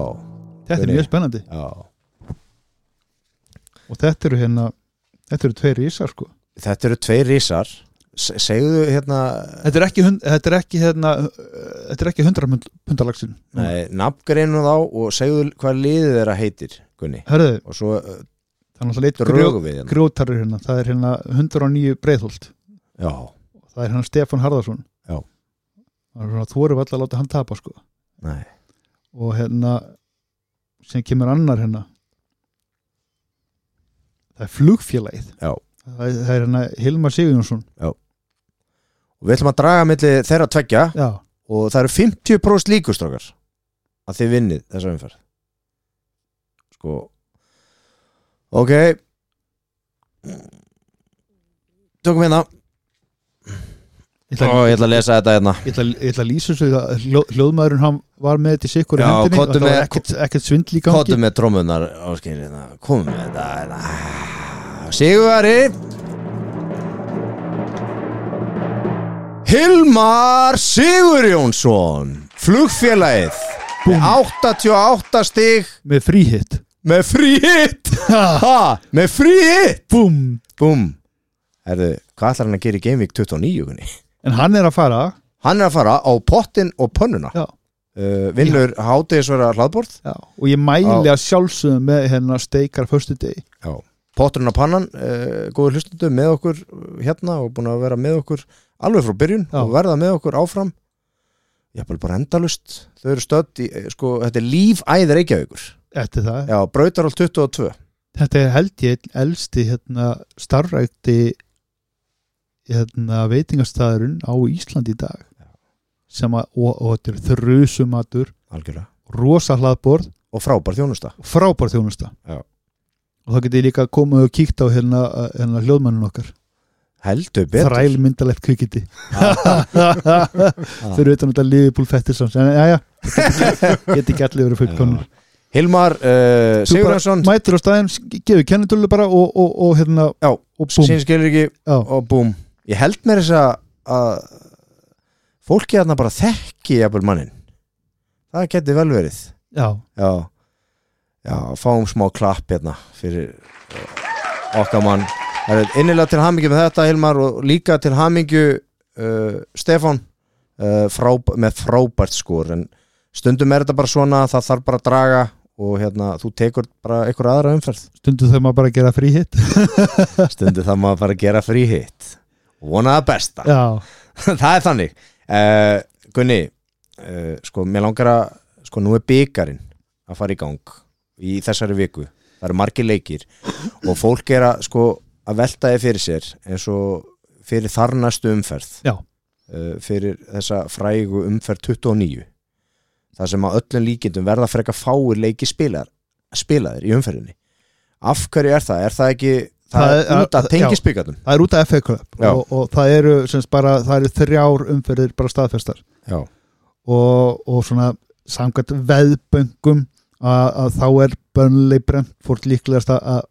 þetta er
Gunni.
mjög spennandi
já.
og þetta eru hérna þetta eru tveir ísar sko
þetta eru tveir rísar Se- segðu hérna
þetta er ekki, hund- þetta er ekki hérna uh, þetta er ekki 100 pundalagsin
nei, nafngreinu þá og segðu hvað liðið þeirra heitir Gunni
herðu,
og svo uh,
það er náttúrulega eitt grjó,
drögum við hérna
grjótarur hérna það er hérna 109 breiðholt
já,
það er hérna Stefán Harðarsson
Já.
það er svona þóru alltaf að láta hann tapa sko
nei,
og hérna sem kemur annar hérna það er flugfélagið
Já.
það er, það er hérna Hilmar Sigurjónsson
og við ætlum að draga milli þeirra tveggja
já,
og það eru 50% líkustrókar að þið vinnið þessa umferð sko ok tökum hérna
ég ætla,
og ég ætla að lesa þetta hérna
ég ætla, ég ætla að lýsa þessu að hljó, hljóðmaðurinn hann var með þetta í sikkur
Já,
hendinni og
komdu
það var
með-
ekkert, ekkert svindl í gangi
kóttu með trómunar áskil hérna komum með þetta hérna Sigurari Hilmar Sigurjónsson flugfélagið með 88 stig
með fríhitt
með frí hitt
ha,
ha, með frí hitt
búm
búm Herðu, hvað ætlar hann að gera í Gameweek 29 kunni?
en hann er að fara
hann er að fara á pottin og pönnuna
Já.
uh, vinnur hátegisvera hlaðbord
já, og ég mæli að sjálfsögum með hérna steikar förstu degi
potturinn á pannan, uh, góður hlustundu með okkur eh, hérna og búin að vera með okkur alveg frá byrjun
Já.
og verða með okkur áfram jafnvel bara endalust þau eru stödd í, eh, sko, þetta er lífæð Reykjavíkur,
eftir það
já, Brautarál 22
Þetta er held ég einn elsti hérna, starrækti hérna, veitingastæðurinn á Íslandi í dag sem að, og, og þetta er þrjusumatur
algjörlega,
rosa hlaðborð
og frábær þjónusta
og frábár þjónusta
Já.
og þá getið líka komið og kíkt á hérna, uh, hérna hljóðmannin okkar
heldur betur
þrælmyndalegt kvikiti fyrir utan þetta liðbúl fettisans en já já, geti ekki allir verið fullkonur
Hilmar uh,
Þú bara
Sigurðarsson
mætir á staðin, gefur kennitölu bara og, og, og hérna
Já.
og búm,
sín skilur ekki
já,
og búm ég held mér þess að- að fólki þarna bara þekki jafnvel mannin það geti vel verið
já,
já, já fáum smá klapp hérna fyrir eh, okkar mann Það er innilega til hamingju með þetta Hilmar og líka til hamingju uh, Stefan uh, frá, með frábært skor en stundum er þetta bara svona það þarf bara að draga og hérna, þú tekur bara einhver aðra umferð
Stundu þau maður bara að gera frí hitt
stundum það maður bara að gera frí hitt og vona það besta
Já,
það er þannig uh, Gunni, uh, sko mér langar að sko nú er byggarinn að fara í gang í þessari viku það eru margir leikir og fólk er að sko að velta þið fyrir sér eins og fyrir þarnastu umferð
Já.
uh, fyrir þessa frægu umferð 29 þar sem að öllum líkindum verða frekar fáir leiki spilar, spilaðir í umferðinni af hverju er það? Er það ekki það,
Það
það
er-
er út
að-
af tengisbyggarnum?
það er út af FA Cup
Já.
og, og það eru semst bara, það eru þrjár umferðir bara staðfestar
Já,
og, og svona samkvæmt veðböngum að, að þá er Burnley Brentford líklegast að- að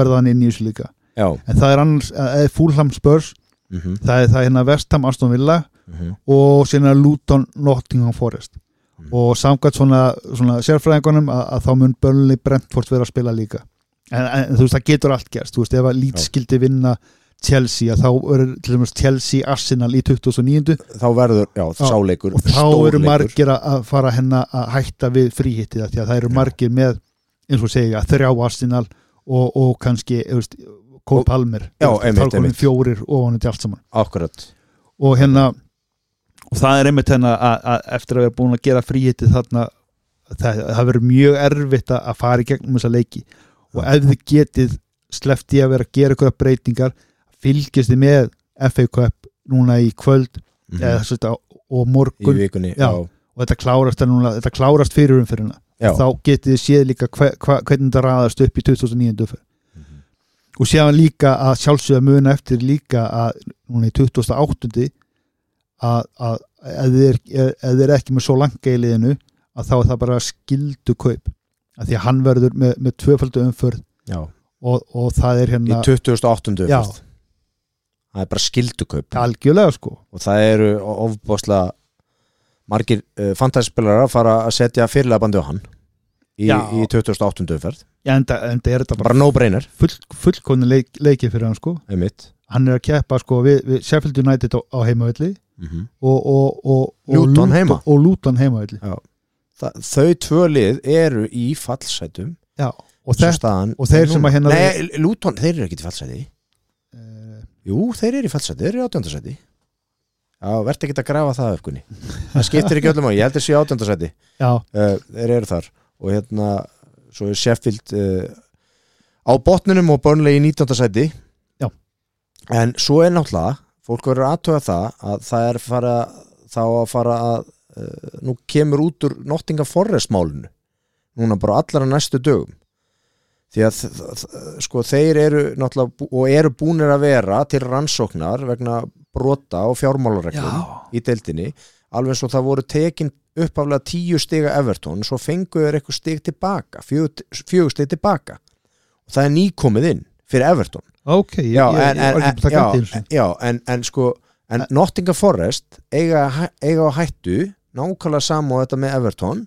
verða hann inn í þessu líka
já
en það er annars, eða Fulham Spurs
mm -hmm.
það er það er hérna Vestham Aston Villa
mhm.
og síðan er Luton Nottingham Forest
Mm.
og samkvæmt svona, svona sérfræðingunum að, að þá mun Burnley Brentford vera að spila líka en, en þú veist það getur allt gerst þú veist ef að Leeds
Já.
skildi vinna Chelsea að þá eru til dæmis Chelsea Arsenal í 2009
þá verður, já,
Já,
sáleikur
og þá eru margir að- að fara henn að hætta við fríhittið af því að það eru
Já.
margir með eins og segja þrjá Arsenal og, og kannski þú veist, Cole
Og-
Palmer
Já,
þú veist,
einmitt,
þá er komin
einmitt.
fjórir ofan til allt saman
akkurat,
og hérna og það er einmitt hérna að, að eftir að vera búin að gera fríhiti þarna það, það verður mjög erfitt að að fara í gegnum þessa leiki og ef þið getið slefti að vera að gera eitthvað breytingar fylgjast þið með FA Cup núna í kvöld
mm
eða, svolítið, á- og
í
morgun
vikunni
Já. og þetta klárast, er núna, þetta klárast fyrir umfyrirna
Já.
þá getið þið séð líka hva, hva, hvernig þetta raðast upp í 2009 umferð
Mhm.
og séðan líka að sjálfsögða muna eftir líka að núna í 2008 að, að ef þið er, ef þið er ekki með svo langa í liðinu að þá er það bara skildu kaup að því að hann verður með, með tvöfaldu umförð
Já.
og, og það er
í
hérna
2008.
Já.
fyrst. það er bara skildukaup
algjörlega sko
og það eru ofbáslega margir uh, fantaspilarar að fara að setja fyrirlega bandi á hann í,
Já.
í 2008. umferð
Já, en það er þetta bara
bara no-brainer,
full, fullkonni leik, leikið fyrir hann sko
einmitt
hann er að keppa sko við, við Sheffield United á, á heimavelli
mm -hmm.
og, og, og, og
Luton heima.
og Luton heimavelli
þau tvö lið eru í fallsetum
Já, og
svo
þetta
staðan
og þeir sem að hérna-
Nei, Lúton, þeir eru ekki í fallseti
eh,
Jú, þeir eru í fallseti, þeir eru í átjöndasæti Já, verður ekki að grafa það upp kunni Það skiptir ekki öllum á, ég held þessu í átjöndasæti
já,
uh, Þeir eru þar og hérna, svo er Sheffield uh, á botninum og börnlega í nítjóndasæti
Já.
En svo er náttúrulega fólk verður aðtöga það að það er fara þá að fara að uh, nú kemur út úr Nottingham Forest málinu núna bara allara næstu dögum því að þ- þ- þ- sko þeir eru náttúrulega bú- og eru búnir að vera til rannsóknar vegna brota og fjármálareglum í deildinni alveg eins og það voru tekin uppaflega tíu stiga Everton svo fengu þeir eitthvað stig tilbaka fjögur fjögur stig tilbaka og það er nýkomið inn fyrir Everton
ok ég,
já,
ég,
en,
ég var
en,
ekki
en,
búin að taka eftir
já,
þessu.
já, en, en sko en Nottingham Forest eiga, að hæ- eiga á hættu nákvæmlega saman á þetta með Everton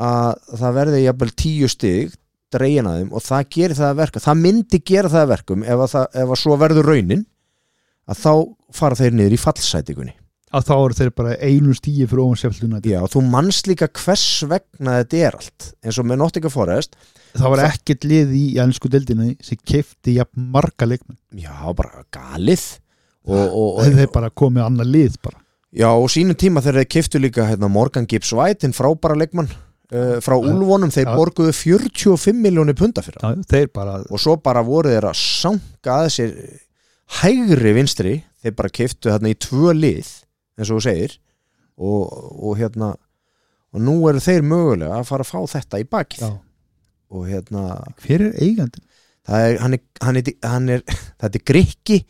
að það verði jafnvel tíu stig dregin að þeim og það gerir það að verka það myndi gera það að verkum ef að, það, ef að svo verður raunin að þá fara þeir niður í fallsætingunni
að þá eru þeir bara einu stíi fyrir ofan Sheffield United
já, og þú manns líka hvers vegna þetta er allt eins og með Nottingham Forest
það var
það-
ekkert lið í ennsku deildinni sem kefti jafn marga leikmenn
já, bara galið og, og, og,
þeir þeir bara komið annað lið bara
Já, og sínum tíma þegar þeir keftu líka hérna, Morgan Gibbs White, hinn frábæra leikmann uh, frá Úlvonum, þeir
Já.
borguðu 45 miljónir punda fyrir hann
já, þeir bara
og svo bara voru þeir að sanga að sér hægri vinstri þeir bara keftu þarna í tvö lið eins og þú segir og, og hérna og nú eru þeir mögulega að fara að fá þetta í bakið
já.
og hérna
hver er eigandi
það er, hann er, hann er, hann er þetta er grikki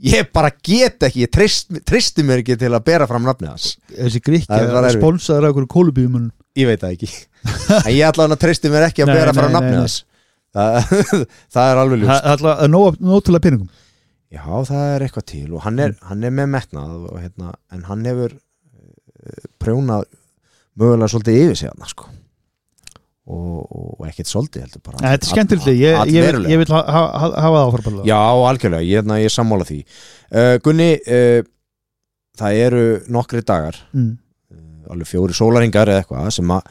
ég bara get ekki, ég treyst, treysti mér ekki til að bera fram nafnið hans
þessi
Það
gríkja
er bara erfitt.
sponsaður af okkur kólubíumun
ég veit það ekki en ég ætla hann að treysti mér ekki að
Nei,
bera frá
nei, nei,
nafni
nei.
hans það, það er alveg ljúst
það er nótilega peningum
já það er eitthvað til og hann
Mm.
er, hann er með metnað og, hérna, en hann eh, hefur uh, prjónað mögulega svolítið yfir sig hann sko. og, og ekkert svolítið heldur bara
Þetta er skemmtilega, ég,
all-
ég, vil-
allverulega.
ég vil ha, ha, ha- hafa það áfram
Já, algjörlega, ég, na, ég er sammála því uh, Gunni uh, það eru nokkri dagar
mm.
eh, alveg fjóri sólaringar eða eitthvað sem að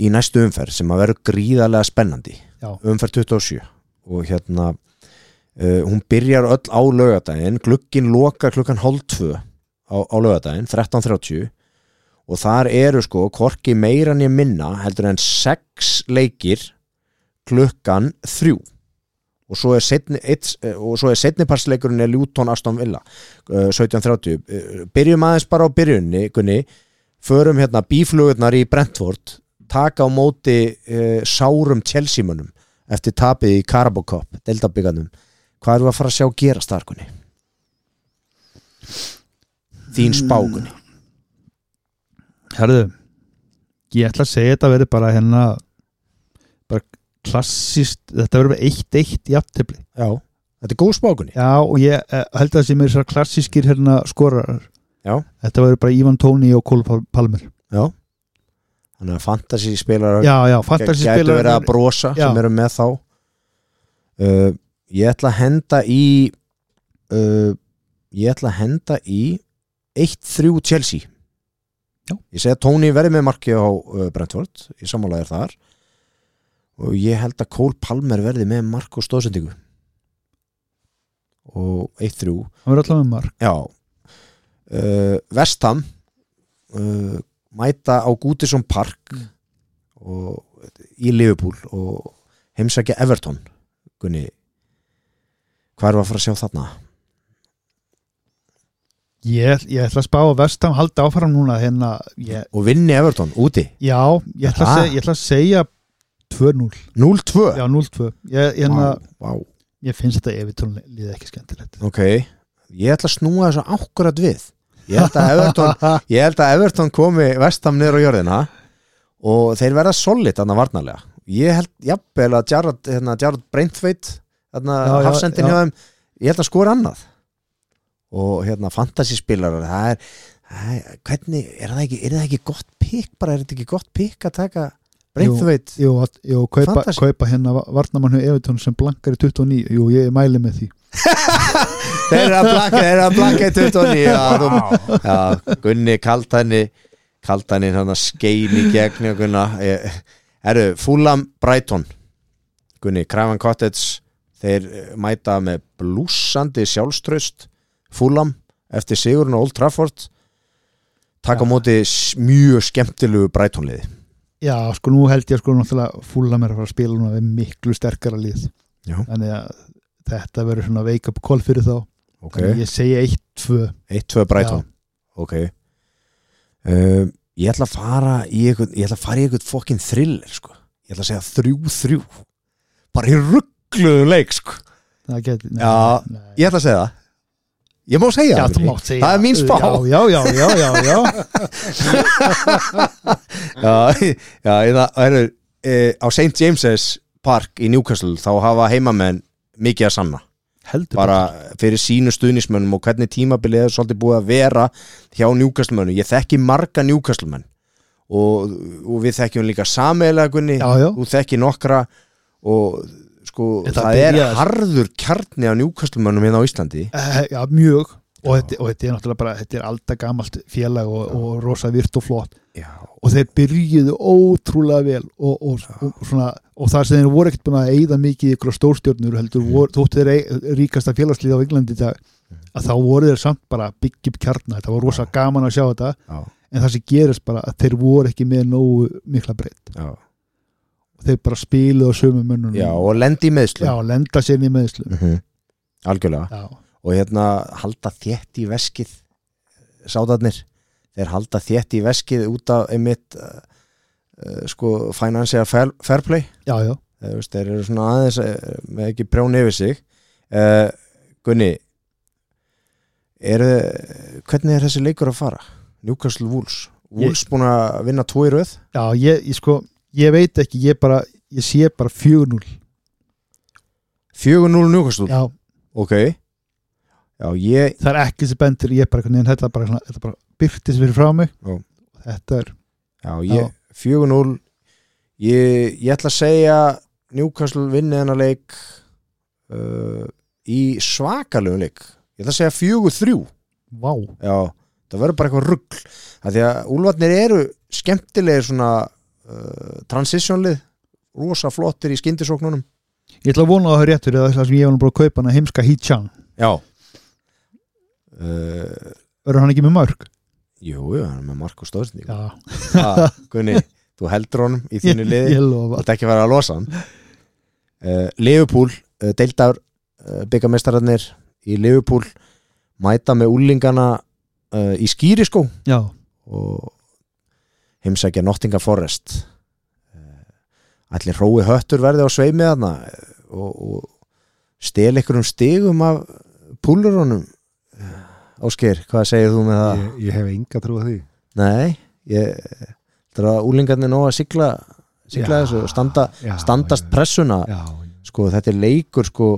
í næstu umferð sem að verður gríðarlega spennandi
Já.
umferð 27 og hérna uh, hún byrjar öll á laugardaginn glukkin lokar klukkan hálf 2 á, á laugardaginn, 13.30 og þar eru sko korki meira en ég minna heldur en 6 leikir klukkan 3 og svo er setni, eitt, eh, og svo er setniparsleikurinn er Ljúton Aston Villa eh, 17.30 Eh, byrjum aðeins bara á byrjunni Gunni, förum hérna bíflugurnar í Brentford taka á móti uh, sárum Chelsea-munum eftir tapið í Carabao Cup deltabyggarnum, hvað erum við að fara að sjá gerast þar Gunni? þín spá Gunni
Herðu Ég ætla að segja þetta verið bara hérna bara klassist þetta verið bara eitt eitt í aftefli
já, þetta er góð spá Gunni
Já og ég eh, held að það sé mér þessar klassískir hérna skorarar
Já.
Þetta verið bara Ivan Tóni og Kól Pal- Palmer
þannig að fantasy spilar
Já, já, hérna. fantasy
gætu verið að
spilar
brosa
Já.
sem eru með þá uh, ég ætla að henda í uh, ég ætla að henda í 1-3 Chelsea
Já.
ég segi að Tony verði með marki á uh, Brentford, ég sammála þér þar og ég held að Cole Palmer verði með mark og stóðsendingu og 1-3
Hann verið allavega með mark
já uh, Vestham uh, mæta á Gútisson Park og í Liverpool og heimsækja Everton Gunni hvað erum við að fara að sjá þarna?
Ég, ég ætla að spá að vestam halda áfram núna hérna, ég,
og vinni Everton úti
já, ég ætla, að
Ah.
segja, ég ætla að segja 2-0,
0-2
já 0-2 ég,
Vá,
hérna,
vá,
ég finnst þetta Evertón líða ekki skemmtilegt
ok ég ætla að snúa þessu ákkurat við ég held að Everton, ég held að Everton komi vestam niður á jörðina og þeir verða solid annað varnarlega ég held jafnvel að Jarrod hérna, Jarrod Breintveit hérna,
Já, já,
hafsendin
já.
hjá þeim ég held að skora annað og hérna fantasyspilarar það er, það er hvernig, er það ekki, er það ekki gott pikk bara, er þetta ekki gott pikk að taka Breintveit
Jú, að- jú kaupa,
Fantasy.
kaupa hérna varnamannu Evertón sem blankar í 29 Jú, ég mæli með því
þeir eru að blakka, þeir eru að blakka í 29 já, þú, já, Gunni Kaltani Kaltani hann að skein í gegn og Gunna eh, Herru, Fulham Brighton Gunni, Craven Cottage þeir eh, mæta með blúsandi sjálfströst Fulham eftir Sigurinn og Old Trafford taka á móti s- mjög skemmtilegu Brightonliði
Já, sko nú held ég sko náttúrulega fúla mér að fara að spila núna við miklu sterkara lið
Já.
Þannig að þetta verður svona wake up call fyrir þá Þannig að Ég segja 1-2
1-2 Brighton ok um, ég ætla að fara í eitthvað ég ætla að fara í eitthvað fokkin thriller sko. ég ætla að segja 3-3 bara í ruggluðu leik sko.
Það geti, nei,
Já,
nei.
ég ætla að segja það ég má segja
Já,
það
þú
Gunni.
mátt segja
það er mín spá
Já, já, já, já, já, já.
já, já, ég það er, e, á St. James's Park í Newcastle þá hafa heimamenn mikið að sanna
Heldur
bara fyrir sínu stuðnismönnum og hvernig tímabilið er svolítið búið að vera hjá njúkastlumönnum, ég þekki marga njúkastlumenn og, og við þekkjum líka sameiglega Gunni
Já, já.
þú þekki nokkra og sko,
Þetta
það er
byrjaði-
harður kjarni á njúkastlumönnum hérna á Íslandi
Eh, Já, mjög og þetta, og þetta er náttúrulega bara, þetta er alltaf gamalt félag og, og rosa virt og flott
já,
og þeir byrjuðu ótrúlega vel og, og, og, svona, og þar sem þeir voru ekkert búin að eyða mikið í ykkur stórstjórnur heldur, voru, þóttu þeir ei- ríkasta félagslið á Englandi í dag að þá voru þeir samt bara byggjum kjarnar þetta var rosa gaman að sjá þetta
já,
en það sem gerist bara að þeir voru ekki með nógu mikla breytt
já,
og þeir bara spiluðu á sömu mönnum
já og lendi í meðslu
já, lenda sér í meðslum
algjörlega
já,
og hérna halda þétt í veskið sáðarnir þeir halda þétt í veskið út af einmitt uh, uh, sko financial fair, fair play
já, já,
þeir, veist, þeir eru svona aðeins eh, með ekki prjón yfir sig uh, Gunni eru, hvernig er þessi leikur að fara? Newcastle Wolves Wolves búin að vinna tvo í röð
já ég, ég sko ég veit ekki, ég bara ég sé bara 4-0
4-0 Newcastle,
já,
ok já ég,
það er ekki sem bendir ég bara, en þetta bara, svona- þetta bara byrtist fyrir frá mig
Já.
þetta er
já ég 4-0 ég, ég ætla að segja Newcastle vinni hennar leik uh, í svakalugum leik ég ætla að segja fjögur þrjú
Vá,
Já, það verður bara eitthvað ruggl Það því að úlfarnir eru skemmtilegir svona uh, transitionlið, rosa flottir í skyndisóknunum
ég ætla að vona að það er réttur eða það sem ég var nú bara að kaupa hann að heimska Hee-chan
Já uh,
verður hann ekki með mörg
Jú, jú, hann er með Marko Stóðsning
Já,
Gunni, þú heldur honum í
ég,
þínu liði
ég lofa
Þetta ekki að vera að losa hann uh, Leifupúl, uh, deildar uh, byggamestararnir í Leifupúl mæta með úlingana uh, í skýriskó
Já,
og heimsækja Nottingham Forest Eh, ætli hrói höttur verði á sveimi þarna eh, og, og stel ykkur um stigum af púlurunum Ásker, hvað segir þú með það?
ég, ég hef enga trú að því
Nei, ég það er að úlingarnir nóg að sigla sigla
Já,
þessu og standa,
já,
standast
já.
pressuna
Já,
sko þetta er leikur sko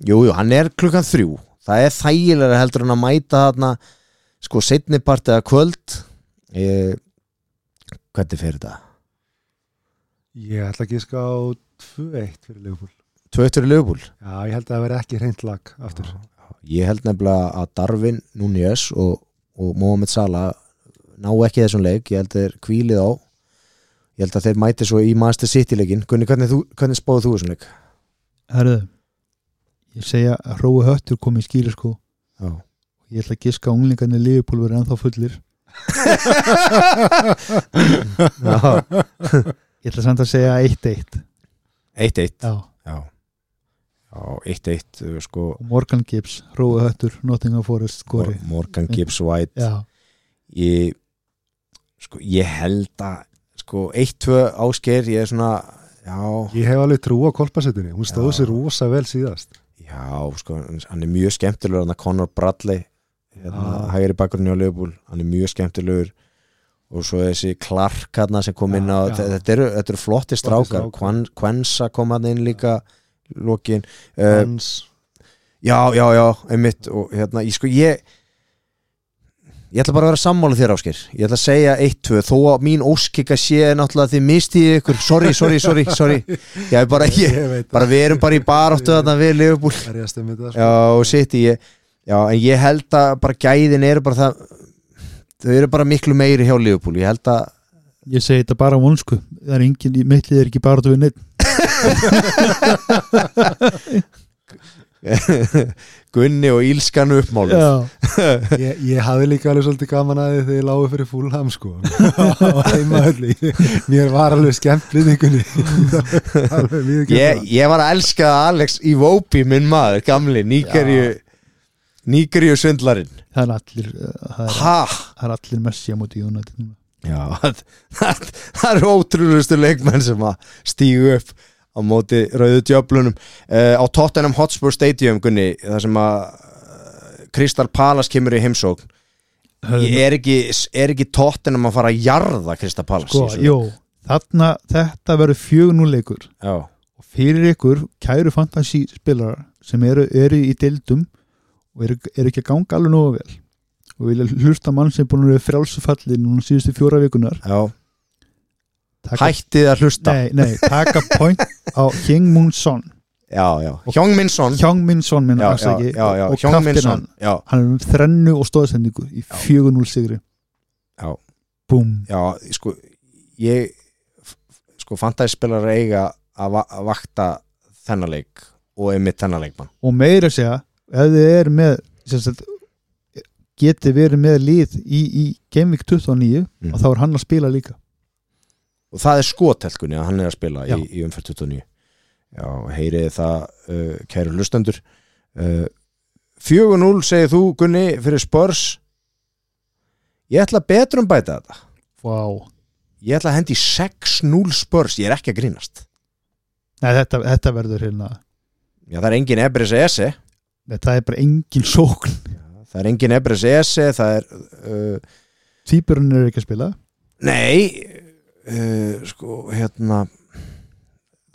jújú, jú, hann er klukkan þrjú það er þægilega heldur en að mæta þarna sko setnipart eða kvöld e, hvernig fer þetta?
ég ætla að gíska á 2-1 fyrir Leopold
Tvöttur í lögbúl?
Já, ég held að það veri ekki reynd lag aftur
Ég held nefnilega að Darvin Núñez og, og Mohamed Salah ná ekki þessum leik, ég held að þeir kvílið á ég held að þeir mæti svo í Master City leikin, Gunni, hvernig, þú, hvernig spáðu þú þessum leik?
herðu Ég segja að hrói höttur komið skýri sko
Já.
Ég ætla að giska að unglingarnir liðupól verður ennþá fullir
Já.
Ég ætla samt að segja 1-1
Eitt eitt
Já,
Já, Já eitt eitt uh, sko
og Morgan Gibbs, hrói höttur Nottingham Forest skori
Mor- Morgan Gibbs White
Já,
ég, sko, ég held að sko, eitt, tvö ásker ég er svona, já
Ég hef alveg trú á kolpasettinni, hún stóð sér rosa vel síðast
já, sko, hann er mjög skemmtilegur hann að Conor Bradley hérna,
Já.
hægri bakgrunni á Leopold, hann er mjög skemmtilegur og svo þessi Clark hérna sem kom
Já,
inn á,
já.
þe- þetta eru, þetta eru flotti strákar,
strákar.
Kwan- Kwensa kom hann inn líka lokin uh,
Hans,
Já, já, já, einmitt og hérna, ég sko, ég ég ætla bara að vera sammála þér áskir ég ætla að segja eitt, tvö, þó að mín óskika sé náttúrulega þið mistiði ykkur sorry, sorry, sorry, sorry ég er bara,
ég,
ég,
veit
bara við erum bara í baráttu þarna við Liverpool
að berjast um þetta sko.
já, og sitt ég, já, en ég held að bara gæðin eru bara það þau eru bara miklu meiri hjá Liverpool ég held að,
ég segi þetta bara á vonsku Það er engin, mitt lið er ekki bara að við neitt
Gunni og Ílskan uppmálum
Já,
ég, ég hafi líka alveg svolítið gaman að því þegar ég lágu fyrir fúlham sko og heimaðalli mér var alveg skemmt liðingunni alveg
ég,
viðurkennt
ég var að elska Alex Iwobi, minn maður, gamli Níkerju Níkerju svindlarinn
það er allir eh, það er,
ha,
það er allir messi á móti United núna.
já það, það, það eru ótrúlustu leikmenn sem að stígu upp á móti rauðu djöflunum uh, á Tottenham Hotspur Stadium Gunni, þar sem að uh, Crystal Palace kemur í heimsókn ég er ekki, er ekki Tottenham að fara að jarða Crystal Palace
sko,
í þessu?
jó, þarna þetta verður fjögur núleikur
já,
og fyrir ykkur kæru fantasy spilarar sem eru, eru í deildum og eru, eru ekki að ganga alveg nógu vel og vilja hlusta á mann sem er búin að vera frálsufalli núna síðustu fjóra vikunar
já.
taka,
hættið að hlusta
nei, nei, taka point á Hing Moon Son
já, já, Hjóng Minnsson
Hjóng Min Son minn
já, já,
afsaki
já, já,
og
Hjóng
kaftinan
Minnsson já,
hann er um þrennu og stóðsendingu í 4-0 sigri
Já.
Búm.
já, sko ég, f- sko fantæðspilar eiga að va- að vakta þennan leik og einmitt þennan leikmann
og meira að segja ef þið er með sem sagt, geti verið með lið í, í Gameweek 29
Mm.
og þá er hann að spila líka
og það er skotelkunni að hann er að spila í,
Já.
í umferð 29 já, heyriði það uh, kæru lustendur uh, 4-0 segir þú Gunni fyrir spörs ég ætla að betrum bæta þetta
wow.
ég ætla að hendi í 6-0 spörs ég er ekki að grínast
Nei, þetta, þetta verður hérna
já, það er engin Ebris Ese
Nei, það er bara engin sókn
það er engin Ebris Ese það er uh,
Týpurinn er ekki að spila
Nei uh, sko hérna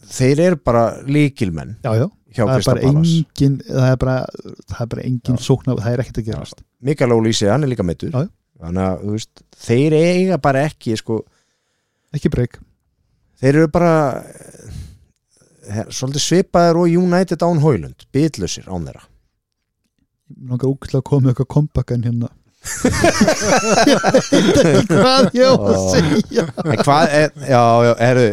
þeir eru bara líkilmenn
já, já.
hjá
Það, er
Krista
bara
Ballas ein...
engin, það er bara það er bara engin sókn af- það er ekkert að gerast
Mikael Ólísi, hann er líka meittur
Já, já.
þannig að þú veist, þeir eiga bara ekki sko,
ekki breyk
þeir eru bara her, svolítið svipaðir og United án Hólund bitlausir án þeirra
Mér langar ógæslega að koma með eitthvað kompakkan hérna Ég veit ekki hvað ég á að
Ó.
segja
en hvað, er, já, já, heru,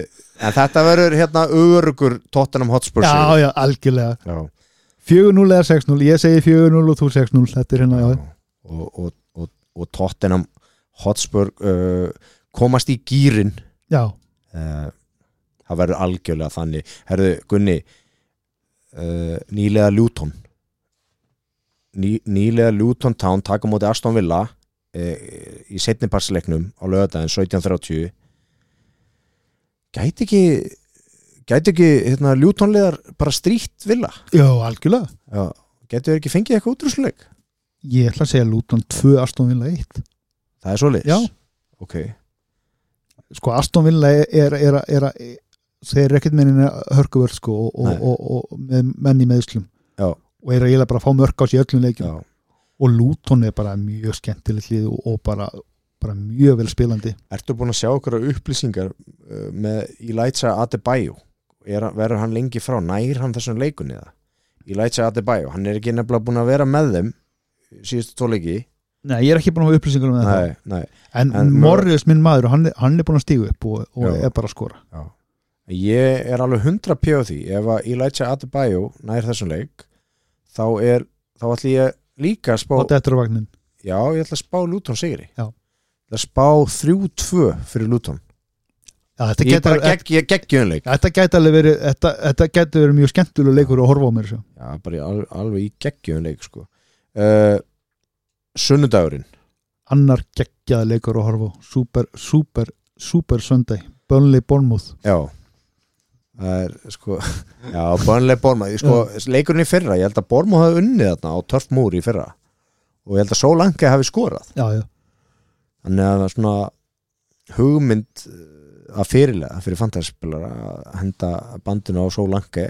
en þetta verður hérna örugur Tottenham Hotspur sigur.
Já, já, algjörlega
Já.
4-0 eða 6-0, ég segi 4-0 og þú 6-0 Þetta er hérna, já,
og, og, og, og Tottenham Hotspur uh, komast í gýrin
já
uh, það verður algjörlega þannig herðu Gunni uh, nýlega Luton Ný, nýlega Luton Town taka á móti Aston Villa uh, í setniparsleiknum á lögadaginn 17.30 gæti ekki gæti ekki hérna, Luton liðar bara stríkt Villa
Já, algjörlega
Já. gæti ekki fengið eitthvað útrúsleik
Ég ætla að segja Luton 2, Aston Villa 1
það er svoleiðis
Já.
ok
Sko, Aston Villa er, er, er, er, er þeir eru ekkert meinin hörkuvörð sko og,
Nei.
og, og, og með menn í meðslum
Já.
og er að eiginlega bara að fá mörk á sér öllum leikjum
Já.
og Luton er bara mjög skemmtilegt lið og, og bara, bara mjög vel spilandi
Ertu búin að sjá okkur upplýsingar uh, með Elijah Adebayo er, hann- verður hann lengi frá, nær hann þessum leikunni það? Elijah Adebayo hann er ekki nefnilega búin að vera með þeim síðustu tóleiki
Nei, ég er ekki búin að hafa upplýsingar um þetta
nei, nei.
en,
En-
Morris, minn maður, hann, er- hann er búin að stíga upp og, og
Já.
er bara að skora
ég er alveg hundra pjóð því ef að Elijah Adebayo nær þessum leik þá er, þá ætlum ég líka að spá
og þetta er vagnin
já, ég ætla að spá Luton sigri
Já.
Ég ætla að spá 3-2 fyrir Luton
Já,
ég
þetta,
er
geta,
bara gegg, ég geggjum leik
þetta geta alveg verið þetta, þetta geta verið mjög skemmtuleg leikur að horfa á mér svo.
Já, bara í al, alveg í geggjum leik sko. uh, Sunnudagurinn
annar geggjað leikur að horfa á super, super, super söndæg Bönli Bornmúð
Já Það er sko Já, Burnley Borma sko, Leikurinn í fyrra, ég held að Borma hafi unnið þarna á törf múri í fyrra og ég held að svo langi hafi skorað
já, já.
Þannig að það er svona hugmynd eh, að fyrirlega fyrir fantaspilar að henda bandinu á svo langi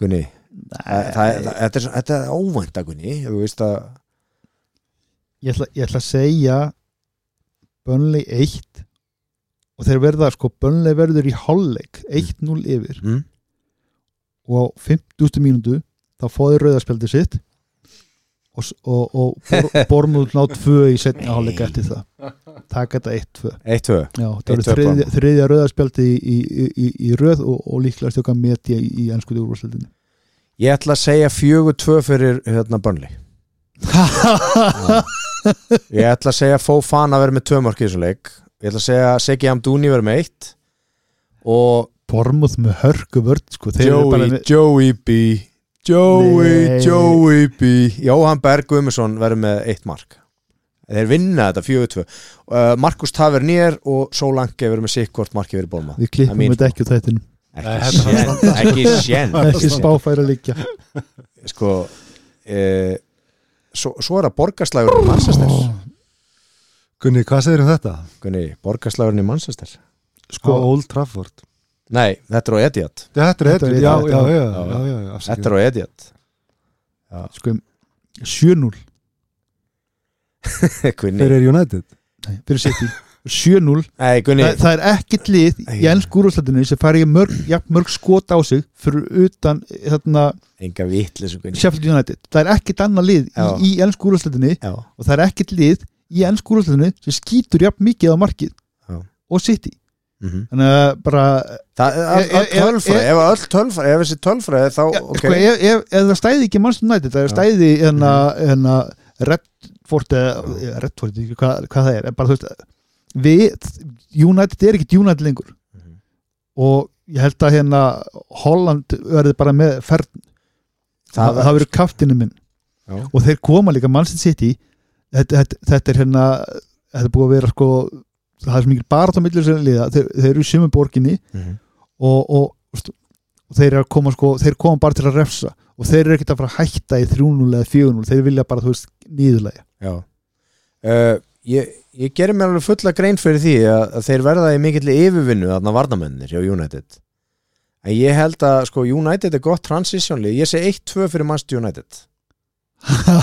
Gunni það, það, það, þetta, er, svo- þetta er óvænt að Gunni þú veist að
Ég, ætla, ég ætla að segja Bönli 1 og þeir verða sko Bönli verður í hálfleik 1-0 yfir
mm,
og á 50. mínútu þá fóði rauðarspjaldi sitt og, s- og, og bor, Bormúð ná 2 í setni hálfleik eftir það taka þetta 1-2
Eitt höf
Já, það
1-2
eru þriðja,
Bournemouth.
þriðja rauðarspjaldi í, í, í, í rauð og, og líklega stjóka metja í, í ennskuði úrvarsleitinu
Ég ætla að segja fjögur tvö fyrir hérna Burnley Ég ætla að segja Fofana verið með tvö mörk í þessum leik Ég ætla að segja Segi Amduni verið með eitt og
Bormúð með hörku vörd sko. þeir eru bara
Joey,
með,
Joey B Joey,
Nei.
Joey B Jóhann Berg Guðmundsson verið með eitt mark Þeir vinna þetta fjögur tvö uh, Markus Tavernier og Solange verið með sikkort marki verið bólma
Við
Það
klippum
er mín
þetta ekki úr þættinum
Nei,
Ekki
þetta
sén, ekki sén
Ekki spáfæra líka
Sko uh, svo, svo er það borgarslagur í Manchester
Oh.
Gunni, hvað segir um þetta?
Gunni, borgarslagurinn í Manchester
Sko,
Sko-
Old Trafford
Nei, þetta er á Etihad
Þetta er
Þetta er
eitthvað, já,
Etihad,
já, já,
já.
já, já, já
Þetta er á Etihad
sko, 7-0
Gunni,
Þeir eru United
Nei, fyrir City 7-0,
Nei, Gunni
Þa, það er ekkit lið í
Nei.
ennsk úrúslandinu sem fari í mörg, ja, mörg skot á sig fyrir utan þarna,
Enga vitlis Gunni
Sheffield United það er ekkit annað lið í,
Já.
í ennsk úrúslandinu
Já,
og það er ekkit lið í ennsk úrúslandinu sem skýtur jafn mikið á markið
Já.
og City
mm -hmm.
þannig að bara
Það er
Ef-
öll- öll
ef-
tölfræði
ef-
Ef öll tölfræði, ef þessi tölfræði þá,
Ja,
ok
sko, ef, ef, ef það stæði ekki mannstum nætti það
Já.
er
Mhm.
stæði hérna, hérna eh, Redford eða eða Redford, ég veit ekki hvað, hvað það er en bara þú veist við United er ekkit United lengur
Mhm.
og ég held að hérna Holland verði bara með ferð
Það-
það, það verður kaftinu minn
Já.
og þeir koma líka mannstum City þetta, þetta, þetta er hérna þetta er búið að vera sko það er svo mikil bara þá millir sér liða þeir, þeir eru í sömu borginni
Mhm.
og, og, veist, og þeir eru að koma sko, þeir koma bara til að refsa og þeir eru ekkert að fara að hætta í 3-0 eða 4-0, þeir vilja bara, þú veist, nýðulega
Já uh, Ég, ég gerir mér alveg fulla grein fyrir því að, að þeir verða í mikill yfirvinnu þarna varnamennir hjá United En ég held að sko United er gott transitionlið Ég segi 1-2 fyrir Manchester United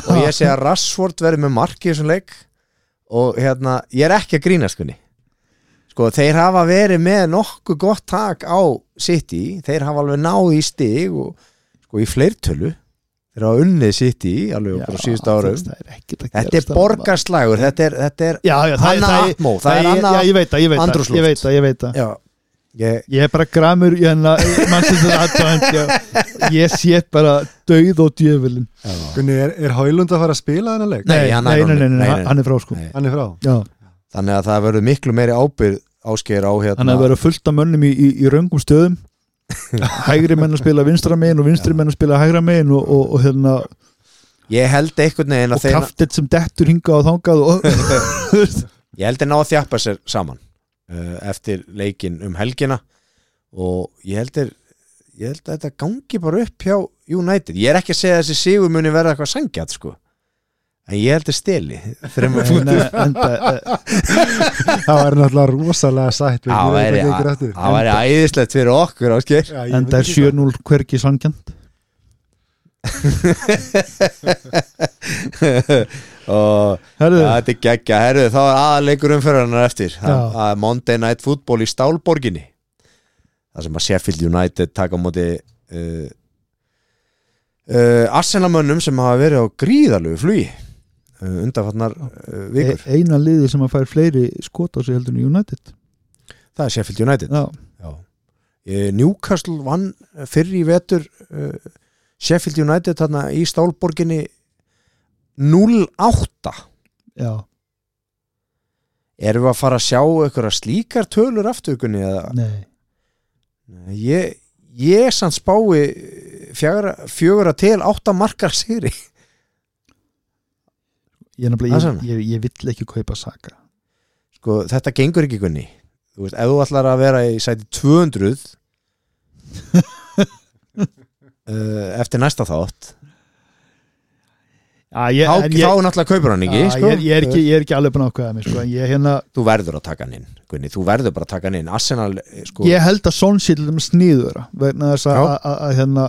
og ég segi að Rashford verði með marki í þessum leik og hérna, ég er ekki að grínast kunni sko þeir hafa verið með nokkuð gott tak á City þeir hafa alveg náð í stig og sko í fleirtölu þeir hafa unnið City alveg já, bara á síðustu árum
það er ekkert að
þetta er
gerast þarna.
borgarslagur, þetta er, þetta er
já, já, það, er-
Anna
það, er-
atmó, það er
ég-
annað-
já, ég veit það, ég veit það,
andrúmsloft.
ég veit það, ég veit það
já, ég,
ég er hérna, bara gramur í hennar mannstættur aðtönd ég sé bara dauð og djöfulin
Gunni, er, er Hælund að fara að spila þennan leik?
Nei, hann er
nei, nei,
orðinn- nei,
nei, nei,
nei.
hann- hann er frá sko
Nei.
Hann er frá.
Já,
þannig að það verður miklu meiri ábyrð áskeir á
hann
hérna
er verið fullt af mönnum í, í, í röngum stöðum hægri menn að spila vinstra megin og vinstri menn að spila hægra megin og, og, og, hérna,
ég held einhvern veginn
og
að þeir
kraftet sem dettur hinga og þangað og, þú veist.
ég held þeir ná að þjappa sér saman uh, eftir leikin um helgina og ég held þeir ég held að þetta gangi bara upp hjá United, ég er ekki að segja að þessi sigur muni verða eitthvað sangjað sko en ég held þeir steli þreymur
en,
fútið
eh, enda, eh,
Það var náttúrulega rosalega sætt við
það
hvað
væri-
gengur eftir.
það væri æðislegt fyrir okkur áskeir
Já, ég veit
enda er
ekki það.
7-0 hvergi sangjant
og
herðu,
Ja, þetta er geggja, herru, þá er aðalegur umfyrranar eftir Það-
Já.
það er Monday Night Football í Stálborginni Það sem að Sheffield United taka á móti uh, uh, Arsenalmönnum sem hafa verið á gríðalögu flugi uh, undanfarnar uh, vikur
e- eina liði sem að fær fleiri skot á sig heldur en United
Það er Sheffield United
já,
Eh, Newcastle vann fyrr í vetur uh, Sheffield United þarna í Stálborginni 0-8
já,
Erum við að fara að sjá einhverja slíkar tölur aftökunni eða
nei
Nei, Ég, ég samt spái fjögura, fjögura til átta markar sigri
ég, nefnilega-
Það er
ég, ég, ég vill ekki kaupa Saka
sko, þetta gengur ekki gunni þú veist, ef þú ætlar að vera í sæti 200 uh, eftir næsta þátt
Já, ég,
þá,
en
þá náttúrulega kaupur hann ekki,
Já,
sko.
ég, er- ég, er ekki ég er ekki alveg búin að ákveða mig sko. en ég, hérna,
þú verður að taka hann inn gunni, þú verður bara að taka hann inn Arsenal, eh, sko,
ég held að Son sé til þeim sniður vegna þess að-
Já.
að- að að, hérna,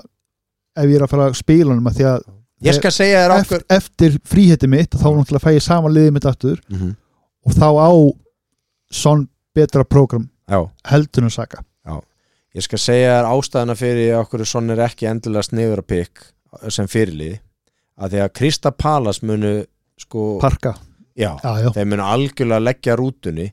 ef ég er að fara að spila honum að því að
ég skal segja þér
eftir,
okkur
eftir fríheti mitt þá náttúrulega fæ ég sama liðið mitt aftur
mm -hmm.
og þá á Son betra prógram
já,
heldur en Saka
ég skal segja þér ástæðana fyrir okkur svo er ekki endilega sniður að pikk sem fyrirlið að því að Krista Palas munu sko,
Parka,
já,
já, já,
þeir munu algjörlega leggja rútunni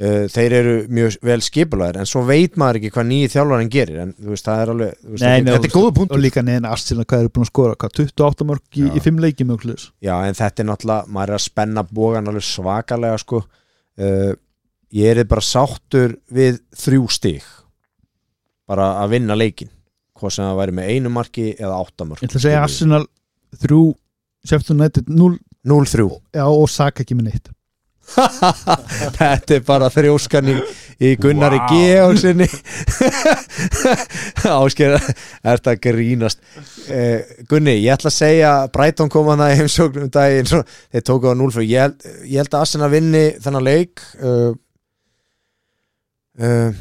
Uh, þeir eru mjög vel skipulaðir en svo veit maður ekki hvað nýji þjálfarinn gerir en þú veist, það er alveg þú veist,
Nei,
þetta,
nei,
þetta er góða punkt
og líka neina Arsenal hvað eru búin að skora, hvað, 28 mörg í,
Já.
í fimm leikjum og hljus
já, en þetta er náttúrulega, maður er að spenna bógan alveg svakalega sko uh, ég er bara sáttur við þrjú stig bara að vinna leikin hvað sem það væri með einu marki eða áttamörk
ég ætla að segja Arsenal 3, 17, 0
0-3
já, og Saka ekki með neitt
Þetta er bara þrjóskan í, í Gunnari wow. Georgsinni Ásker Er þetta grínast eh, Gunni, ég ætla að segja Brighton kom hann að heimsóknum um daginn svo, Þeir tóku á 0 ég, held- ég held að Arsenal vinni þennan leik uh, uh,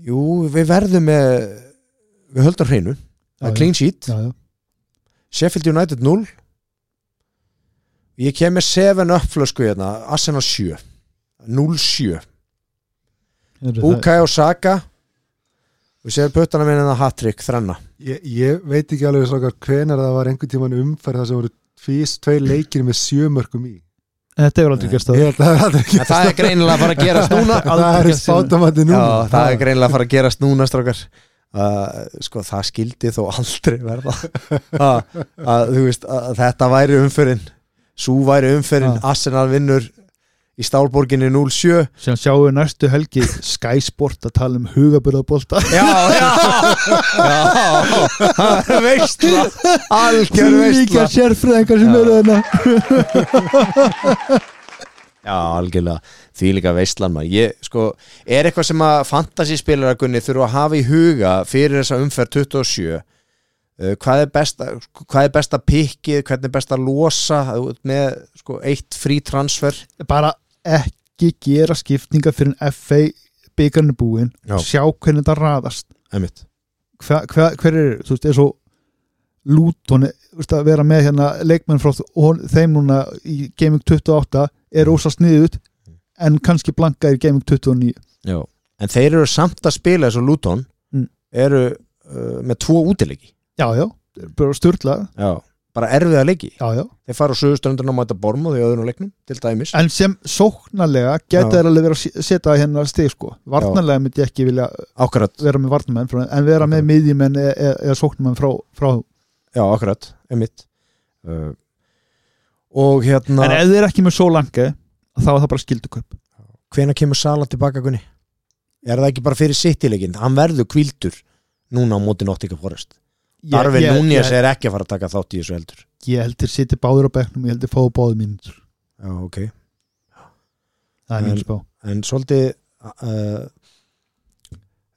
Jú, við verðum með Við höldum hreinu
Já,
Það er clean sheet
já, já.
Sheffield United 0 ég kem með 7 uppflösku hérna, Arsenal 7 0-7,
Heyrðu, það-
Bukai og Saka við séum puttana minna en að hat-trick þrenna,
Ég, ég veit ekki alveg svakar hvenar það var einhvern tíman umferð þar sem voru fyrst tvei leikir með sjömörkum í.
þetta hefur aldrei gerst
Ég
það
held að það er ekki
en það er greinilega að fara að gerast núna
það
aldrei
er í
gerst síðan.
spátamandi
já,
núna.
það er greinilega að fara að gerast núna strákar Uh, sko það skildi þó aldrei verða að, að þú veist að þetta væri umfyrin svo væri umfyrin
Já.
Arsenal vinnur í Stálborginni 0-7
sem sjáum við næstu helgi Sky Sport að tala um hugaburðabólta
Já, já, já, það er veistla, algjör veistla.
líka sérfræðingar sem
Já.
eru þarna
Já, algjörlega, því líka veistlan maður. Ég, sko, er eitthvað sem að fantasyspilaragunni þurfa að hafa í huga fyrir þessa umferð 27? Uh, hvað er besta, sko, hvað er besta pikkið, hvernig er best að losa Þú ert með, sko, eitt frí transfer?
bara ekki gera skiptinga fyrir en FA byggarnir búin
Já.
sjá hvernig þetta raðast
Einmitt.
hva, hva, hver er, þú veist, eins og Luton, þú veist, að vera með hérna leikmenn frá hon, þeim núna í Gaming 28 er ósa sniðut en kannski blankaðir í Gaming 29
Já. en þeir eru samt að spila eins og Luton
Mm.
eru uh, með tvo útileiki
já, já, þeir eru bara styrlaðar
já. bara erfiða leiki
já, já.
þeir fara á söguströndunum að mæta borma því öðrum leiknum til dæmis
en sem sóknarlega geta
Já.
þeir alveg verið að setja hérna steg sko, varnarlega myndi ég ekki vilja
akkurat,
vera með varnarmenn frá, en vera með miðjumenn eða, eða, eða sóknarmenn frá, frá
já akkurat, emitt uh, og hérna
en ef þeir eru ekki með svo langa þá er það bara skilduköp
hvenær kemur Sala tilbaka Gunni? Er það ekki bara fyrir sittilegin? Hann verður kvildur núna á móti Nottingham Forest Darvin Núnes
ég,
er ekki að fara að taka þátt í þessu heldur
ég held þeir sitja báður á bekknum, ég held þeir fáðu báðu mínútur
Já, ok
það er
En-
mín spá
En svolítið uh,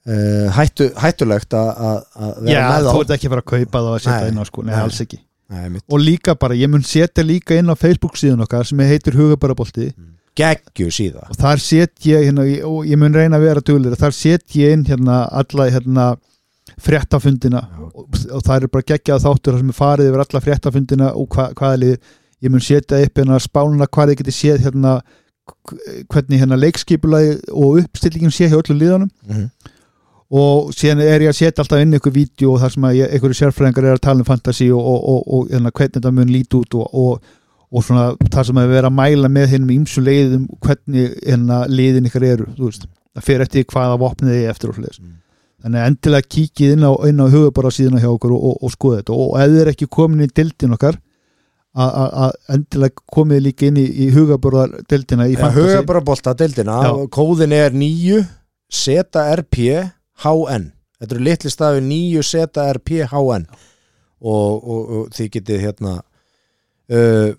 uh, hættu, hættulegt að- að að
já,
vera með
þú
á
ert ekki að fara að kaupa það að
Nei,
setja inn á sko, nei,
nei.
alls ekki
Nei, mitt.
og líka bara, ég mun setja líka inn á Facebook síðan okkar sem heitir Hugabarabolti
Mm. Geggju síða
og þar set ég hérna, og ég mun reyna að vera duglir þar set ég inn hérna alla hérna fréttafundina
Já.
og, og það er bara geggjað þáttur þar sem er farið yfir alla fréttafundina og hva, hvaða lið ég mun setja upp hérna spánuna hvað þið geti séð hérna k- hvernig hérna leikskipulagi og uppstillingin sé hjá öllum liðanum
mm -hmm.
og síðan er ég að setja alltaf inn ykkur vídeo og þar sem að ég- einhverju sérfræðingar er að tala um fantasy og, og, og, og hérna, hvernig þetta mun líti út og, og, og svona þar sem að vera að mæla með hennum ímsu leiðum hvernig hérna, leiðin ykkar eru þú veist, það fer eftir því hvaða vopnið þið eftir og svoleiðis
Mm.
þannig að endilega kíkið inn á, inn á hugabara síðan hjá okkur og, og, og skoða þetta og ef þið er ekki komin í dildin okkar að- að að endilega komið líka inn í, í hugabara dildina í
Huga
fantasy
bara bolta deildina
Já.
Kóðin er 9 ZRP HN Þetta eru litli stafi 9 ZRP HN og, og, og þið getið hérna uh,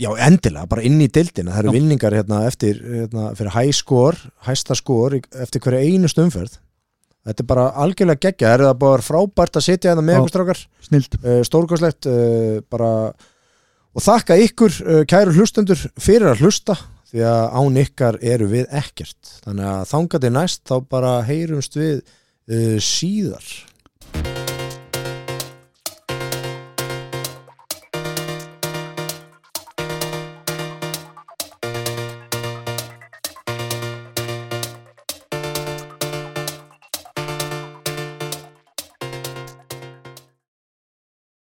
já, endilega, bara inn í deildina það eru
Já.
vinningar hérna eftir hérna, fyrir high score, hæsta score í- eftir hverja einust umferð Þetta er bara algjörlega geggja, það eru það bara frábært að sitja hérna með
Já.
okkur strákar
snilt
uh, stórkoslegt uh, bara og þakka ykkur uh, kæru hlustendur fyrir að hlusta því að án ykkar eru við ekkert þannig að þangað til næst þá bara heyrumst við uh, síðar